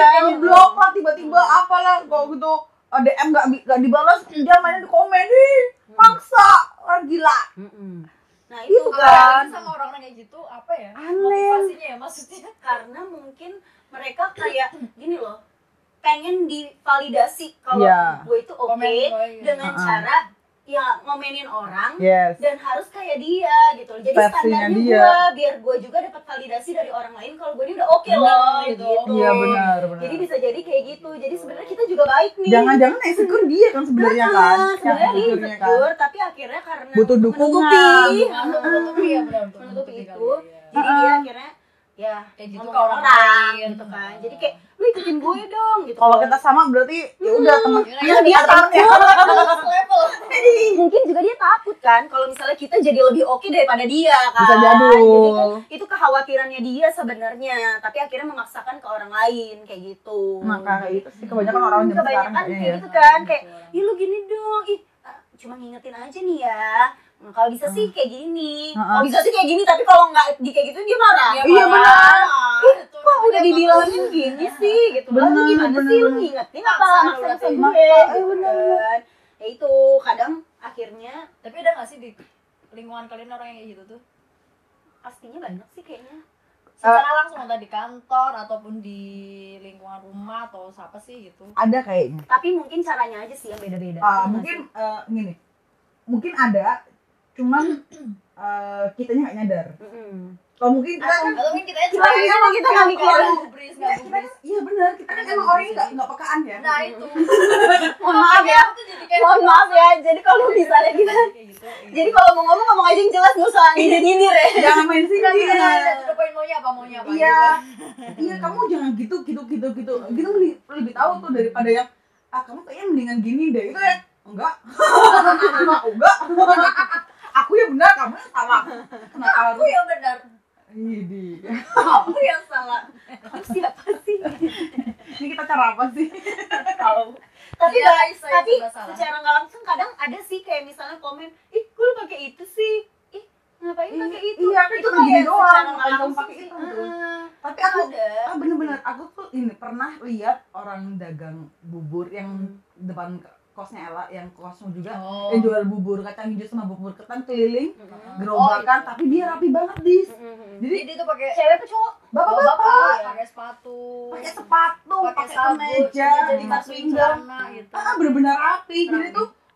S1: blok lah tiba-tiba apalah kalau gitu eh, DM nggak bi- nggak dibalas dia mainnya di komen ih maksa orang gila
S4: Nah itu
S1: itu kan
S3: apalagi sama orang-orang kayak gitu apa ya?
S1: Aneh.
S3: Motivasinya ya maksudnya.
S4: karena mungkin mereka kayak gini loh pengen divalidasi kalau
S1: Iya.
S4: gue itu oke
S3: Komen gue, iya.
S4: dengan
S1: Uh-uh.
S4: cara ya ngomenin orang
S1: yes
S4: dan harus kayak dia gitu loh. jadi
S1: Iya. Versinya
S4: standarnya
S1: dia.
S4: gue biar gue juga dapat validasi dari orang lain kalau gue ini udah oke loh
S3: Benar,
S4: gitu
S3: betul.
S1: iya benar benar
S4: jadi bisa jadi kayak gitu jadi sebenarnya kita juga baik nih
S1: jangan-jangan yang insecure dia kan sebenarnya kan
S4: Ah,
S1: yang
S4: sebenarnya dia
S1: insecure-nya kan
S4: insecure tapi akhirnya karena
S1: butuh dukungan Iya.
S4: menutupi,
S3: Nah, menutupi ya benar untuk
S4: menutupi
S3: menutupi
S4: itu
S3: kali ya.
S4: gitu, jadi dia akhirnya ya
S3: Kayak gitu
S4: ngomong
S3: ke orang lain.
S4: gitu kan jadi kayak lu ikutin gue dong gitu
S1: kalau kita sama berarti ya udah teman
S3: Iya,
S1: dia teman ya
S3: level.
S4: mungkin juga dia takut kan kalau misalnya kita jadi lebih oke daripada dia kan
S1: Bisa jadi.
S4: Jadi kan itu kekhawatirannya dia sebenarnya tapi akhirnya memaksakan ke orang lain kayak gitu
S1: maka kayak gitu sih kebanyakan orang
S4: Hmm,
S1: zaman sekarang
S4: kebanyakan
S1: kayaknya
S4: kayak
S1: ya
S4: gitu kan kayak ih lu gini dong ih ah, cuma ngingetin aja nih ya Hmm, kalau bisa sih kayak gini
S1: Hmm,
S4: kalau bisa sih kayak gini tapi kalau nggak di kayak gitu dia marah
S1: Iya, benar.
S4: kok udah
S3: Iya,
S4: dibilangin gini sih gitu
S1: Benar,
S4: lah lu gimana
S1: benar,
S4: sih lu
S1: benar.
S4: ngingetin apa
S3: Maksa,
S4: maksa
S1: maksa.
S4: gue
S1: Maksa,
S4: gitu
S1: benar,
S4: kan ya itu kadang akhirnya
S3: Tapi ada nggak sih di lingkungan kalian orang yang kayak gitu tuh?
S4: pastinya banyak sih kayaknya
S3: Secara langsung entah di kantor ataupun di lingkungan rumah atau siapa sih gitu.
S1: ada kayaknya
S4: tapi mungkin caranya aja sih yang beda-beda
S1: Ah,
S4: Iya
S1: mungkin eh, gini mungkin ada cuman eh, kitanya nggak nyadar
S4: nggak sih? Mm-mm.
S1: kalau mungkin kita kan
S3: Atau mungkin kitanya
S1: Kita- kita-
S3: cuek,
S1: kita nggak mikir.
S3: nggak gubris, nggak
S1: Iya, kita
S3: gubris.
S1: kan iya benar kita kan emang orangnya nggak nggak pekaan ya
S3: Nah itu.
S4: mohon maaf ya
S3: Aku tuh jadi kayak
S4: mohon maaf ya jadi kalau misalnya kita
S3: kayak gitu.
S4: jadi kalau mau ngomong ngomong aja yang jelas nggak usah nyindir-nyindir ya
S1: jangan main
S3: Iya.
S1: sini
S3: Iya, iya, to the point maunya apa maunya apa.
S1: iya
S3: gitu.
S1: iya kamu jangan gitu gitu gitu gitu gitu lebih, lebih tahu tuh daripada yang ah kamu kayaknya mendingan gini deh itu ya enggak Nah, enggak aku yang benar kamu yang salah kenapa
S3: Aku
S1: harus
S3: yang benar.
S1: ini
S4: kamu yang salah kamu siapa sih
S1: ini kita cara apa sih
S4: tahu tapi
S3: Iya,
S4: ba-
S3: saya
S4: tapi
S3: juga salah.
S4: secara nggak langsung kadang ada sih kayak misalnya komen ih gue pakai itu sih ih ngapain
S1: Iya,
S4: pakai itu
S1: iya, kan cuma
S4: kayak
S1: gini doang,
S4: secara nggak
S1: ngapain kamu
S4: langsung
S1: pakai
S4: sih.
S1: itu, gitu.
S4: Ah,
S1: tapi aku
S4: ada
S1: ah bener-bener aku tuh ini pernah lihat orang dagang bubur yang depan kosnya Ella yang kosmu juga
S3: Oh.
S1: yang jual bubur kacang hijau sama bubur ketan keliling
S4: Mm-mm.
S1: gerobakan
S3: iya.
S1: tapi dia rapi banget dis
S4: Mm-mm.
S1: jadi
S3: Jadi dia tuh pakai
S4: cewek apa cowok
S1: Iya, bapak-bapak
S3: pakai sepatu,
S1: pakai sepatu pakai kemeja
S3: dimasukin
S1: dimasukin pinggang
S3: celana gitu.
S1: ah bener-bener rapi jadi
S3: iya, Rapi.
S1: tuh eh,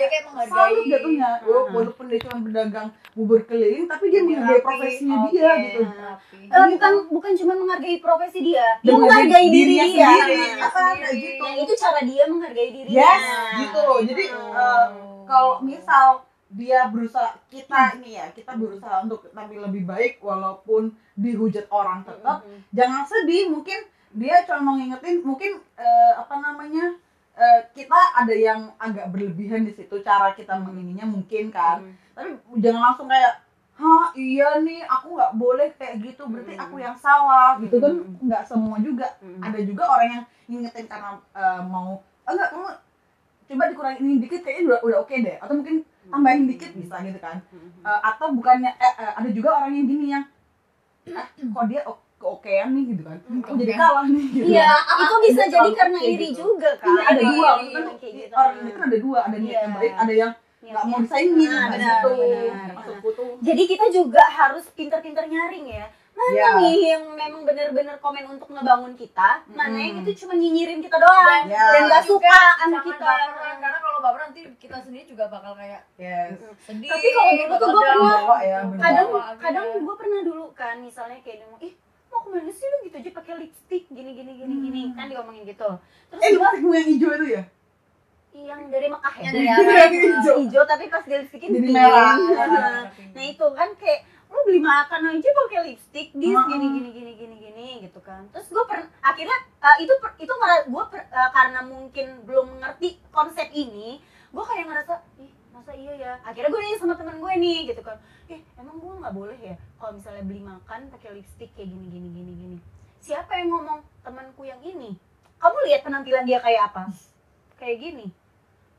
S3: Dia
S1: kayak
S3: kayak menghargai.
S1: salut jatuhnya
S4: Hmm.
S1: walaupun dia cuma berdagang bubur keliling tapi dia menghargai
S3: rapi,
S1: profesinya
S3: oke,
S1: dia gitu
S3: rapi.
S4: Eh, bukan bukan cuma menghargai profesi dia dia
S1: Dan
S4: menghargai diri
S1: dirinya
S4: dia
S1: sendiri
S3: Iya,
S1: Apa, kayak
S3: sendiri.
S1: gitu
S4: Nah, itu cara dia menghargai dirinya
S1: yes gitu loh jadi eh, kalau misal dia berusaha
S4: Hmm.
S1: kita ini ya kita berusaha untuk tampil lebih baik walaupun dihujat orang tetap
S4: Mm-mm.
S1: jangan sedih mungkin dia cuma mau ngingetin mungkin eh, apa namanya eh, kita ada yang agak berlebihan di situ cara kita mengininya mungkin kan
S4: Mm.
S1: tapi jangan langsung kayak Hah iya nih aku nggak boleh kayak gitu berarti
S4: Hmm.
S1: aku yang salah gitu kan
S4: Hmm.
S1: nggak semua juga
S4: Mm-mm.
S1: ada juga orang yang ngingetin karena eh, mau "Ah, enggak kamu coba dikurangin ini dikit kayaknya udah udah oke deh atau mungkin tambahin dikit
S4: Hmm.
S1: bisa gitu kan
S4: Mm-mm.
S1: Eh, atau bukannya eh, eh, ada juga orang yang gini yang "Ah, kok dia o- keokean nih gitu kan kok jadi kalah nih gitu
S4: Hmm, Iya, itu
S1: Gitu,
S4: bisa jadi
S1: kalau
S4: karena
S1: kayak
S4: iri
S1: gitu.
S4: juga kan.
S1: Iya, ada
S4: Iya,
S1: dua
S4: iya,
S1: maksudnya
S4: kayak gitu.
S1: orang ini kan ada dua ada niat yang
S4: Iya.
S1: baik ada yang nggak mau disaingi
S4: Nah,
S1: nah,
S4: benar,
S1: gitu
S4: benar.
S1: maksudku tuh
S4: Jadi kita juga harus pintar-pintar nyaring ya. Mana
S1: Iya.
S4: nih yang memang benar-benar komen untuk ngebangun kita, mana
S1: Mm-mm.
S4: yang itu cuma nyinyirin kita doang
S1: Iya.
S4: dan nggak
S3: Juga
S4: Eh, suka sama
S3: Jangan
S4: kita.
S3: baperan, karena kalau baperan nanti kita sendiri juga bakal kayak
S1: yes
S3: sedih.
S4: Tapi kalau dulu tuh
S3: bakal
S4: gua
S3: down.
S1: pernah- Bawa ya, bener.
S4: kadang
S3: Bawa gitu
S4: Nah,
S3: Iya, akhirnya.
S4: kadang gue pernah dulu kan misalnya kayak dia ngomong ih mau kemana sih lu gitu aja pakai lipstick gini gini gini gini
S1: Hmm.
S4: kan diomongin gitu terus
S1: eh
S4: gua
S1: lipstikmu yang hijau itu
S4: Iya,
S1: ya
S4: yang dari Mekah ya
S3: Yang dari
S1: yang hijau
S4: hijau tapi pas di lipstickin
S1: Jadi
S4: pink.
S1: merah.
S4: Nah, Nah itu kan kayak lu beli makan aja pakai lipstick dis
S1: Mm-mm.
S4: gini gini gini gini gini gitu kan. Terus gue per akhirnya uh, itu per- itu ngera- gue per- uh, karena mungkin belum mengerti konsep ini, gue kayak ngerasa ih masa iya ya. Akhirnya gue nanya sama temen gue nih gitu kan. Eh emang gue nggak boleh ya kalau misalnya beli makan pakai lipstick kayak gini gini gini gini. Siapa yang ngomong? temanku yang ini kamu lihat penampilan dia kayak apa kayak gini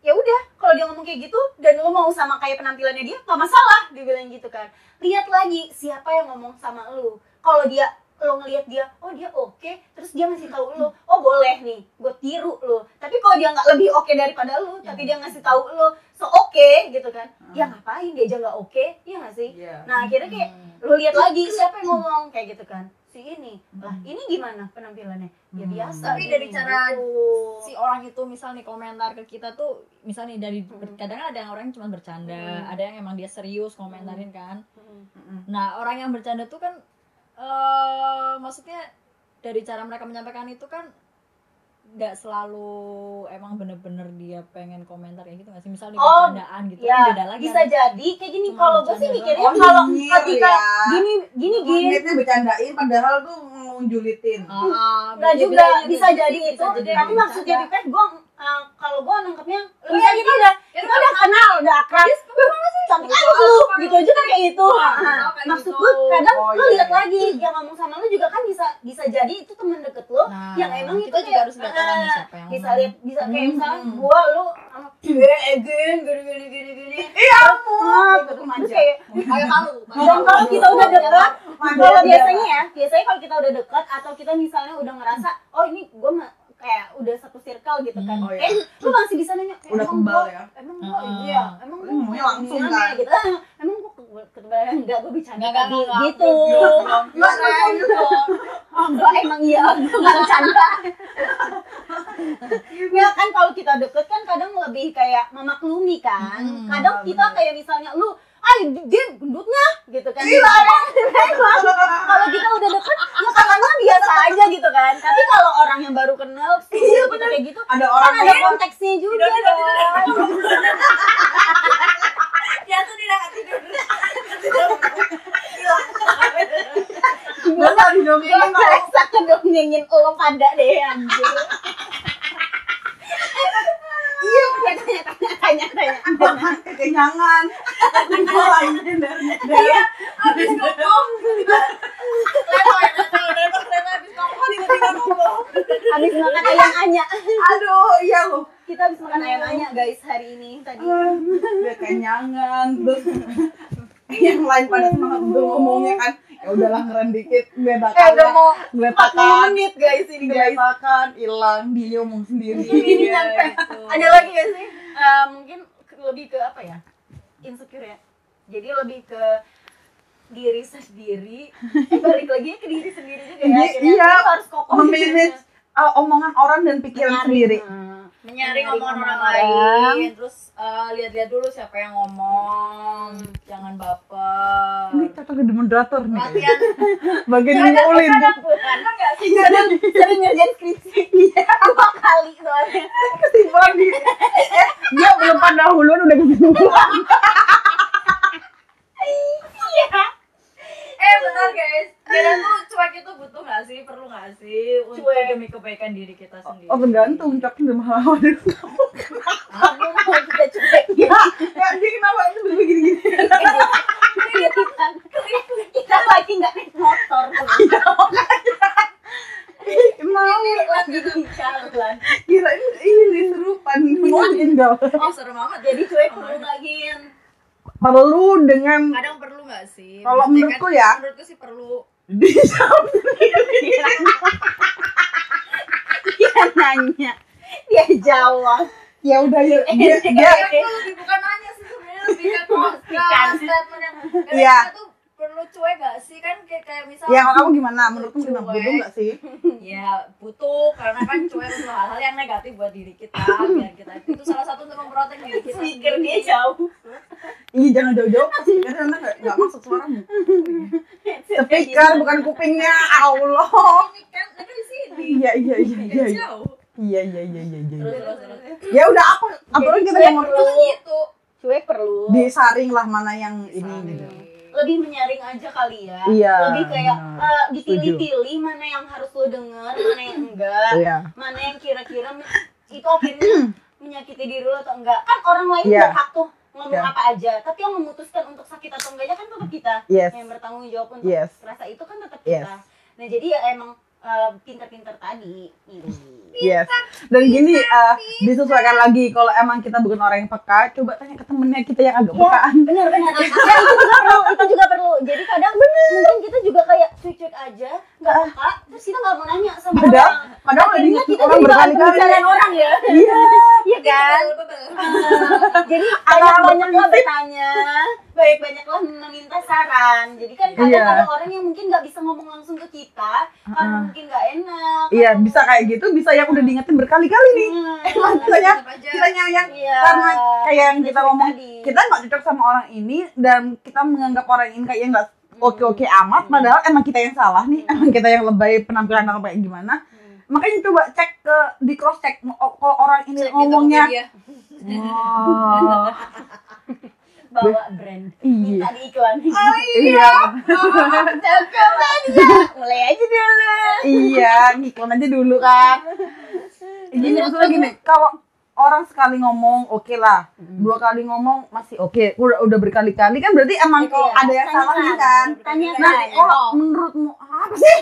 S4: ya udah kalau dia ngomong kayak gitu dan lo mau sama kayak penampilannya dia nggak masalah dia bilang gitu kan lihat lagi siapa yang ngomong sama lo kalau dia lo ngelihat dia oh dia oke terus dia ngasih tahu lo oh boleh nih gue tiru lo tapi kalau dia nggak lebih oke daripada lo
S3: Iya.
S4: tapi dia ngasih tahu lo so oke gitu kan
S3: Hmm.
S4: ya ngapain dia aja nggak oke ya nggak sih
S1: Iya.
S4: nah akhirnya kayak
S3: Hmm.
S4: lu lihat lagi siapa yang ngomong kayak gitu kan si ini lah
S1: Hmm.
S4: ini gimana penampilannya ya
S1: Hmm.
S4: biasa
S3: Tapi dari
S4: gini,
S3: cara
S4: gitu.
S3: si orang itu misal nih komentar ke kita tuh misal nih dari kadang ada yang orang yang cuma bercanda
S4: Hmm.
S3: ada yang emang dia serius komentarin kan
S4: Hmm.
S3: nah orang yang bercanda tuh kan eh maksudnya dari cara mereka menyampaikan itu kan nggak selalu emang bener-bener dia pengen komentar kayak gitu nggak sih misalnya
S4: Oh,
S3: bercandaan gitu kan
S4: ya
S3: beda lagi
S4: bisa jadi kayak gini
S3: Cuma
S4: kalau gue sih
S3: bercanda iya,
S4: mikirnya
S1: doang. Oh,
S4: kalau
S1: nyinyir
S4: ketika
S1: ya.
S4: gini gini gini
S1: Niatnya bercandain padahal tuh ngunjulitin.
S4: Oh,
S3: Ah, ah,
S4: nggak
S3: beda-
S4: juga
S3: bedanya
S4: bisa
S3: gitu
S4: jadi
S3: sih,
S4: itu
S3: bisa jadi
S4: tapi
S3: emang
S4: maksudnya
S3: bercanda.
S4: pipet gue kalau gue nangkepnya lu
S3: iya,
S4: ya kita udah
S3: Ya,
S4: kita udah kenal udah akrab tapi kan lu gitu aja kan kayak itu
S3: Wah,
S4: Ah,
S3: kenal kayak
S4: maksud
S3: gitu.
S4: gue kadang
S1: Oh,
S4: lu
S1: iya,
S4: lihat
S1: iya.
S4: lagi yang ngomong sama lu juga kan bisa bisa jadi itu teman deket lo
S3: Nah,
S4: yang emang
S3: kita
S4: itu
S3: juga
S4: kayak,
S3: harus lihat orangnya
S4: ah,
S3: siapa yang
S4: bisa
S3: ngomong.
S4: lihat bisa kayak
S1: Hmm,
S4: misalnya
S1: hmm.
S4: gua lu sama gue Egen gini gini gini gini
S1: Iya,
S4: ah
S1: Gitu,
S4: terus
S1: manja.
S4: kayak
S3: Ayo malu. malu.
S4: dan kalau kita udah dekat
S1: Manja
S4: kalau
S1: dia.
S4: biasanya ya biasanya kalau kita udah dekat atau kita misalnya udah ngerasa oh ini gue kayak uudah satu circle gitu kan
S3: Hmm.
S1: Oh, iya.
S4: eh lu masih bisa nanya eh,
S1: Udah
S4: emang
S1: kebal
S4: gua-
S1: ya.
S4: emang gua
S3: Ah.
S4: iya emang gua
S1: Hmm, maunya langsung kan.
S4: gimana ya, gitu Ah, emang gua ke- ketebal enggak gua bercanda
S3: Enggak,
S4: tadi
S3: enggak, enggak.
S4: gitu
S1: Enggak, enggak,
S4: enggak emang iya gua nggak bercanda ya kan kalau kita deket kan kadang lebih kayak memaklumi kan
S3: Hmm,
S4: kadang kita
S1: bener.
S4: kayak misalnya lu ay dia gendutnya gitu kan
S1: Iya.
S4: Emang, kalau kita udah deket ya katanya biasa aja gitu kan tapi kalau orang yang baru kenal iya, gitu kayak gitu
S1: Ada
S4: kan
S1: orang
S4: ada konteksnya juga
S1: Tidak, tidak,
S4: dong
S3: Dia tuh tidak nggak tidur.
S1: Gue tadi
S4: Gue
S1: dongengin tau.
S4: ngerasa kedongengin lo pada deh anjir Iya, tanya, tanya, tanya, tanya.
S1: Kenyangan. Gue lagi dari
S4: Iya,
S3: Habis ngomong. Lepo, lepo, lepo, lepo, habis ngomong tiba-tiba ngomong.
S4: habis makan ayam Anya.
S1: Aduh, iya loh.
S4: Kita habis makan ayam Anya, guys, hari ini tadi.
S1: Udah kenyangan. Terus yang lain pada semangat gue ngomongnya kan. Ya udahlah ngeren dikit.
S4: Eh,
S1: Geletakan.
S4: udah mau Iya,
S1: Geletakan.
S4: menit, guys, ini, guys.
S1: Geletakan. Hilang. Dia ngomong sendiri.
S4: Ini nyampe. Ada lagi gak sih? iya, Eh, mungkin ke- lebih ke apa ya? Insecure ya. Jadi lebih ke diri sendiri. Eh, balik lagi ke diri sendiri juga ya.
S1: Iya,
S4: akhirnya.
S1: iya.
S4: Lu harus kokoh. di diri
S1: Memanage uh, omongan orang dan pikiran sendiri.
S4: Nah.
S3: Menyaring
S4: Menyaring
S3: omongan orang
S4: omongan orang.
S3: lain, terus eh, lihat-lihat dulu siapa yang ngomong.
S4: Hmm.
S3: Jangan
S1: Ini
S3: baper.
S1: cocok jadi moderator nih.
S3: Latihan.
S1: Bagian
S4: Kadang-
S1: ngumpulin.
S4: kadang- kadang nggak sih,
S1: Iya.
S4: kadang sering ngerjain skripsi iya dua kali soalnya
S1: kesimpulan di eh, dia belum pendahuluan udah kesimpulan
S4: iya
S3: Eh bentar guys, kita tuh cuek itu butuh gak sih? Perlu gak sih? Untuk
S4: Cuek.
S3: demi kebaikan diri kita sendiri
S1: oh tergantung cok udah mahal aduh
S4: kamu mau kita cuek ya
S1: ya dia kenapa itu begini gini gini
S4: kita lagi nggak naik motor
S1: mau
S4: lagi di jalan
S1: kira ini serupan mau tinggal
S3: Oh serem amat
S4: jadi cuek perlu lagiin
S1: perlu dengan
S3: Kadang perlu gak sih?
S1: Kalau
S3: Maksudnya kan
S1: menurutku ya.
S3: Menurutku sih perlu
S1: disam
S4: dia nanya dia jawab
S1: ya udah ya dia dia
S3: Tapi aku lebih bukan nanya sih sebenarnya lebih ke
S4: Memastikan.
S3: kos statement yang Kadang
S1: Iya.
S3: kita tuh perlu cuek gak sih? Kan kayak, kayak misal
S1: ya kalau kamu gimana menurutmu gimana butuh nggak sih
S3: Ya butuh, karena kan cuek untuk hal-hal yang negatif buat diri kita Biar kita itu salah satu untuk memprotek diri kita
S4: mikir dia
S3: sendiri.
S4: jauh
S1: iya jangan jauh-jauh pasti karena nanti nggak nggak masuk suaramu speaker bukan kupingnya Allah
S3: Ini kan ada di sini
S1: iya iya iya iya
S3: Gak jauh
S1: iya iya iya iya iya
S3: Terus terus terus
S1: ya udah apa apa lagi kita
S4: cuek
S1: yang mau
S4: perlu
S3: Gitu
S4: cuek perlu
S1: disaring lah mana yang
S3: Iya,
S1: ini gitu.
S4: lebih menyaring aja kali ya
S1: Iya,
S4: lebih kayak
S1: benar.
S4: eh, dipilih-pilih mana yang harus lo denger mana yang enggak
S1: Iya.
S4: mana yang kira-kira men- itu akhirnya menyakiti diri lo atau enggak kan orang lain
S1: Iya.
S4: berhak tuh ngomong
S1: Iya.
S4: apa aja tapi yang memutuskan untuk sakit atau enggaknya kan tetap kita
S1: Yes.
S4: yang bertanggung jawab untuk
S1: Yes.
S4: rasa itu kan tetap
S1: Yes.
S4: kita nah jadi ya emang eh, pinter-pinter tadi iri.
S1: Yes. Dan gini eh, disesuaikan lagi kalau emang kita bukan orang yang peka, coba tanya ke temennya kita yang agak pekaan.
S4: benar benar ya, itu juga perlu itu juga perlu jadi kadang mungkin kita juga kayak cuek-cuek aja nggak
S1: Nah.
S4: peka terus kita nggak mau nanya sama
S1: Padahal,
S4: orang
S1: padahal udah
S4: akhirnya
S1: diingetin
S4: kita
S1: orang
S4: jadi bahan
S1: berkali-kali.
S4: pembicaraan orang ya
S1: Iya.
S4: iya kan jadi
S1: Anak
S4: banyak-banyaklah
S1: penting.
S4: bertanya banyak-banyaklah meminta saran jadi kan kadang
S1: Iya.
S4: ada orang yang mungkin nggak bisa ngomong langsung ke kita karena
S1: Uh-uh.
S4: mungkin nggak enak
S1: Iya, bisa kayak gitu, bisa yang udah diingetin berkali-kali nih.
S4: Hmm.
S1: Emang kita yang
S3: ya.
S1: kita yang yang
S4: Iya.
S1: ya. karena kayak yang kita
S4: Cuek-cuek
S1: ngomong
S4: tadi.
S1: kita nggak cocok sama orang ini dan kita menganggap orang ini kayak nggak oke-oke amat
S4: Hmm.
S1: padahal emang kita yang salah nih emang kita yang lebay penampilan atau kayak gimana
S4: Hmm.
S1: makanya coba cek ke di cross check kalau orang
S3: gitu,
S1: ini ngomongnya Wah,
S4: bawa brand
S1: iya
S4: minta di iklan
S1: iya
S4: mulai aja dulu
S1: iya ngiklan aja dulu kan gini
S4: Iya,
S1: maksudnya gini kalau orang sekali ngomong oke lah dua kali ngomong masih oke udah udah berkali-kali kan berarti emang
S4: Gitu
S1: kalau
S4: ya.
S1: ada yang
S4: Tanya
S1: salah nih
S4: kan.
S1: kan
S4: Tanya
S1: nah
S4: kan.
S1: kalau menurutmu apa sih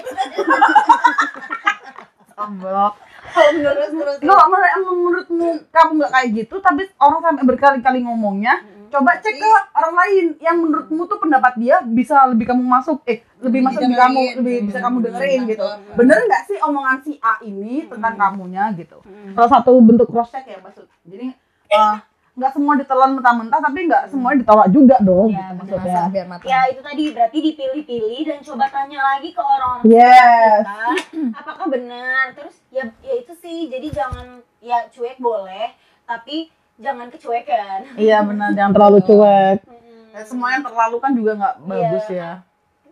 S1: Sombong.
S4: kalau menurut menurut
S1: Kalau menurut- emang menurutmu kamu nggak kayak gitu, tapi orang sampai berkali-kali ngomongnya, coba cek ke orang lain yang menurutmu tuh pendapat dia bisa lebih kamu masuk, eh lebih masuk di kamu, lebih bisa kamu dengerin gitu. Bener nggak sih omongan si A ini tentang kamunya gitu? Salah satu bentuk cross check ya maksud. Jadi eh, nggak semua ditelan mentah-mentah, tapi nggak semua ditolak juga dong.
S4: Iya,
S1: gitu
S4: bener.
S1: maksudnya.
S3: biar mata
S4: ya itu tadi berarti dipilih-pilih dan coba tanya lagi ke orang-orang
S1: Yes.
S4: kita, apakah benar terus ya ya itu sih jadi jangan ya cuek boleh tapi jangan kecuekan
S1: Iya benar, jangan terlalu cuek.
S4: Mm-mm. Iya.
S1: Ya, semua yang terlalu kan juga nggak bagus ya.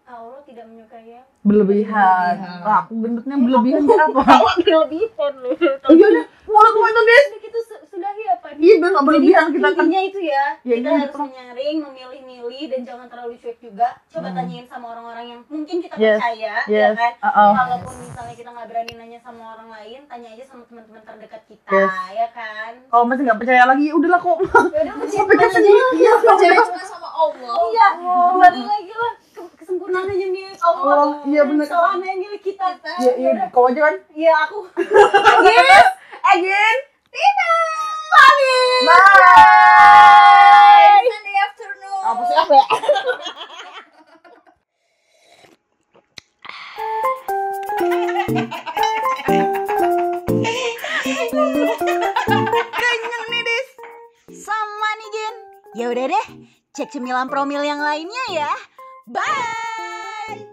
S4: Allah tidak menyukai ya. yang
S1: berlebihan. Lah, aku gendutnya berlebihan ke apa?
S4: Iya. berlebihan loh
S1: Oh, iya, iya. mulut kamu itu deh.
S4: itu su- sudah ya apa
S1: Iya, biar nggak berlebihan kita kan.
S4: intinya itu ya,
S1: Ya,
S4: kita
S1: ini
S4: harus menyaring, memilih-milih dan jangan terlalu cuek juga. Coba tanyain sama orang-orang yang mungkin kita
S1: Mm. Yes,
S4: percaya, ya
S1: yes,
S4: kan?
S1: uh-uh.
S4: Walaupun misalnya kita nggak berani nanya sama orang lain, tanya aja sama teman-teman terdekat kita,
S1: Yes.
S4: ya kan?
S1: Kalau masih nggak percaya lagi, ya udahlah kok.
S4: Ya udah
S1: Kok
S4: percaya
S1: pikir
S4: aja.
S1: sendiri. Iya,
S3: percaya cuma sama Allah
S4: Iya, kembali lagi lah ke- kesempurnaan hanya milik Allah.
S1: Oh, iya benar.
S4: Kesalahan hanya milik kita.
S1: Iya, iya, kau aja kan.
S4: Iya, aku. Yes,
S1: Again.
S4: Tina. Pamit.
S1: Bye.
S3: Iya, Sunday afternoon
S1: Apa sih apa ya?
S4: kenyang nih Dis Sama nih Jin Ya udah deh, cek cemilan promil yang lainnya ya Bye